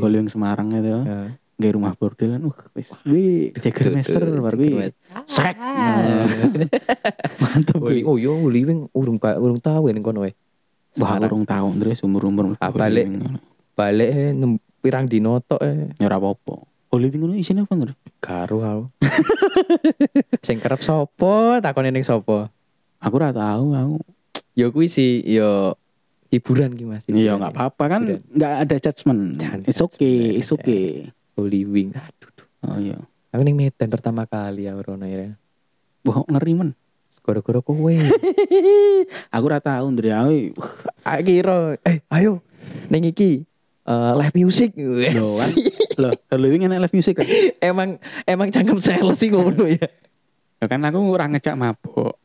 Speaker 1: Holy Wing Semarang itu.
Speaker 2: Ah.
Speaker 1: Gawe rumah bordil kan uh wis wih Jagermeister bar kuwi. Sek. Nah, Mantep
Speaker 2: Oli,
Speaker 1: kuwi.
Speaker 2: oh yo Oli Ah. wing urung ba- urung tahu ning kono eh.
Speaker 1: Wah, aku
Speaker 2: Semarang.
Speaker 1: rong tau Dre seumur-umur.
Speaker 2: Ah, balik. Balik eh, nem- pirang dino tok eh.
Speaker 1: Ya ora apa-apa. Holy Wing ngono isine apa, Dre?
Speaker 2: Karo
Speaker 1: [laughs]
Speaker 2: aku. Sing kerep sapa? Takone ning sapa?
Speaker 1: Aku ora tau aku.
Speaker 2: Yo kuwi sih yo hiburan ki Mas.
Speaker 1: Iya
Speaker 2: hiburan
Speaker 1: nggak
Speaker 2: ki.
Speaker 1: apa-apa kan
Speaker 2: Tidak.
Speaker 1: nggak ada judgement.
Speaker 2: Jangan
Speaker 1: It's okay,
Speaker 2: judgement,
Speaker 1: it's okay.
Speaker 2: Oli wing. Aduh. duh.
Speaker 1: Oh iya.
Speaker 2: Aku ning Medan pertama kali ya Rona ya.
Speaker 1: Wah ngeri men.
Speaker 2: gara-gara
Speaker 1: [laughs]
Speaker 2: kowe.
Speaker 1: aku ora tau ndre aku.
Speaker 2: Akhirnya, eh ayo ning iki eh, live music. Iya,
Speaker 1: Loh,
Speaker 2: [laughs]
Speaker 1: kan? Loh, Halloween enak live [laughs] music kan?
Speaker 2: emang emang cangkem sales sih ngono ya.
Speaker 1: Ya kan aku ora ngejak mabok.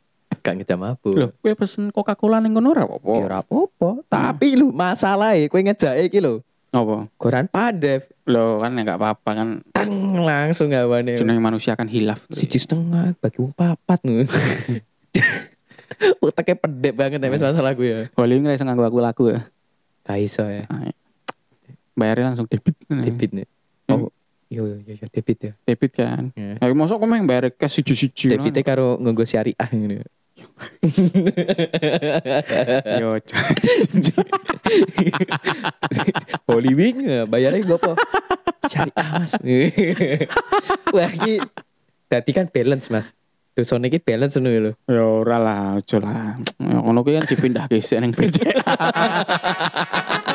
Speaker 2: Gak ngejam mabuk.
Speaker 1: Loh, kowe pesen Coca-Cola ning kono Iya, ora apa-apa.
Speaker 2: Ya ora apa-apa. Tapi lu masalahe kowe ngejake iki lho.
Speaker 1: Apa?
Speaker 2: Goran Pandev
Speaker 1: Loh, kan ya gak apa-apa kan
Speaker 2: teng langsung gawane.
Speaker 1: jeneng manusia kan hilaf. Ndre.
Speaker 2: Siji setengah bagi wong papat
Speaker 1: [laughs]
Speaker 2: ngono. [laughs] Uteknya pendek banget ya mas masalah gue ya.
Speaker 1: Halloween ra iso nganggo aku lagu ya.
Speaker 2: Gak iso ya.
Speaker 1: Bayarnya langsung debit.
Speaker 2: Debit nih.
Speaker 1: Hmm.
Speaker 2: Oh, yo yo yo yo, debit ya.
Speaker 1: Debit kan.
Speaker 2: Ya.
Speaker 1: Ya mosok kok meng bayar cash siji-siji.
Speaker 2: Debitnya karo nganggo syariah
Speaker 1: [laughs]
Speaker 2: ngono.
Speaker 1: Yo,
Speaker 2: Holy Wing eh, bayarnya gue apa? Syariah
Speaker 1: [laughs]
Speaker 2: mas. Wah ini tadi kan balance mas. Dosone ini balance nih lho.
Speaker 1: yo [laughs] ora lah, aja lah. Ya ngono kuwi kan dipindah ke sik ning BCA.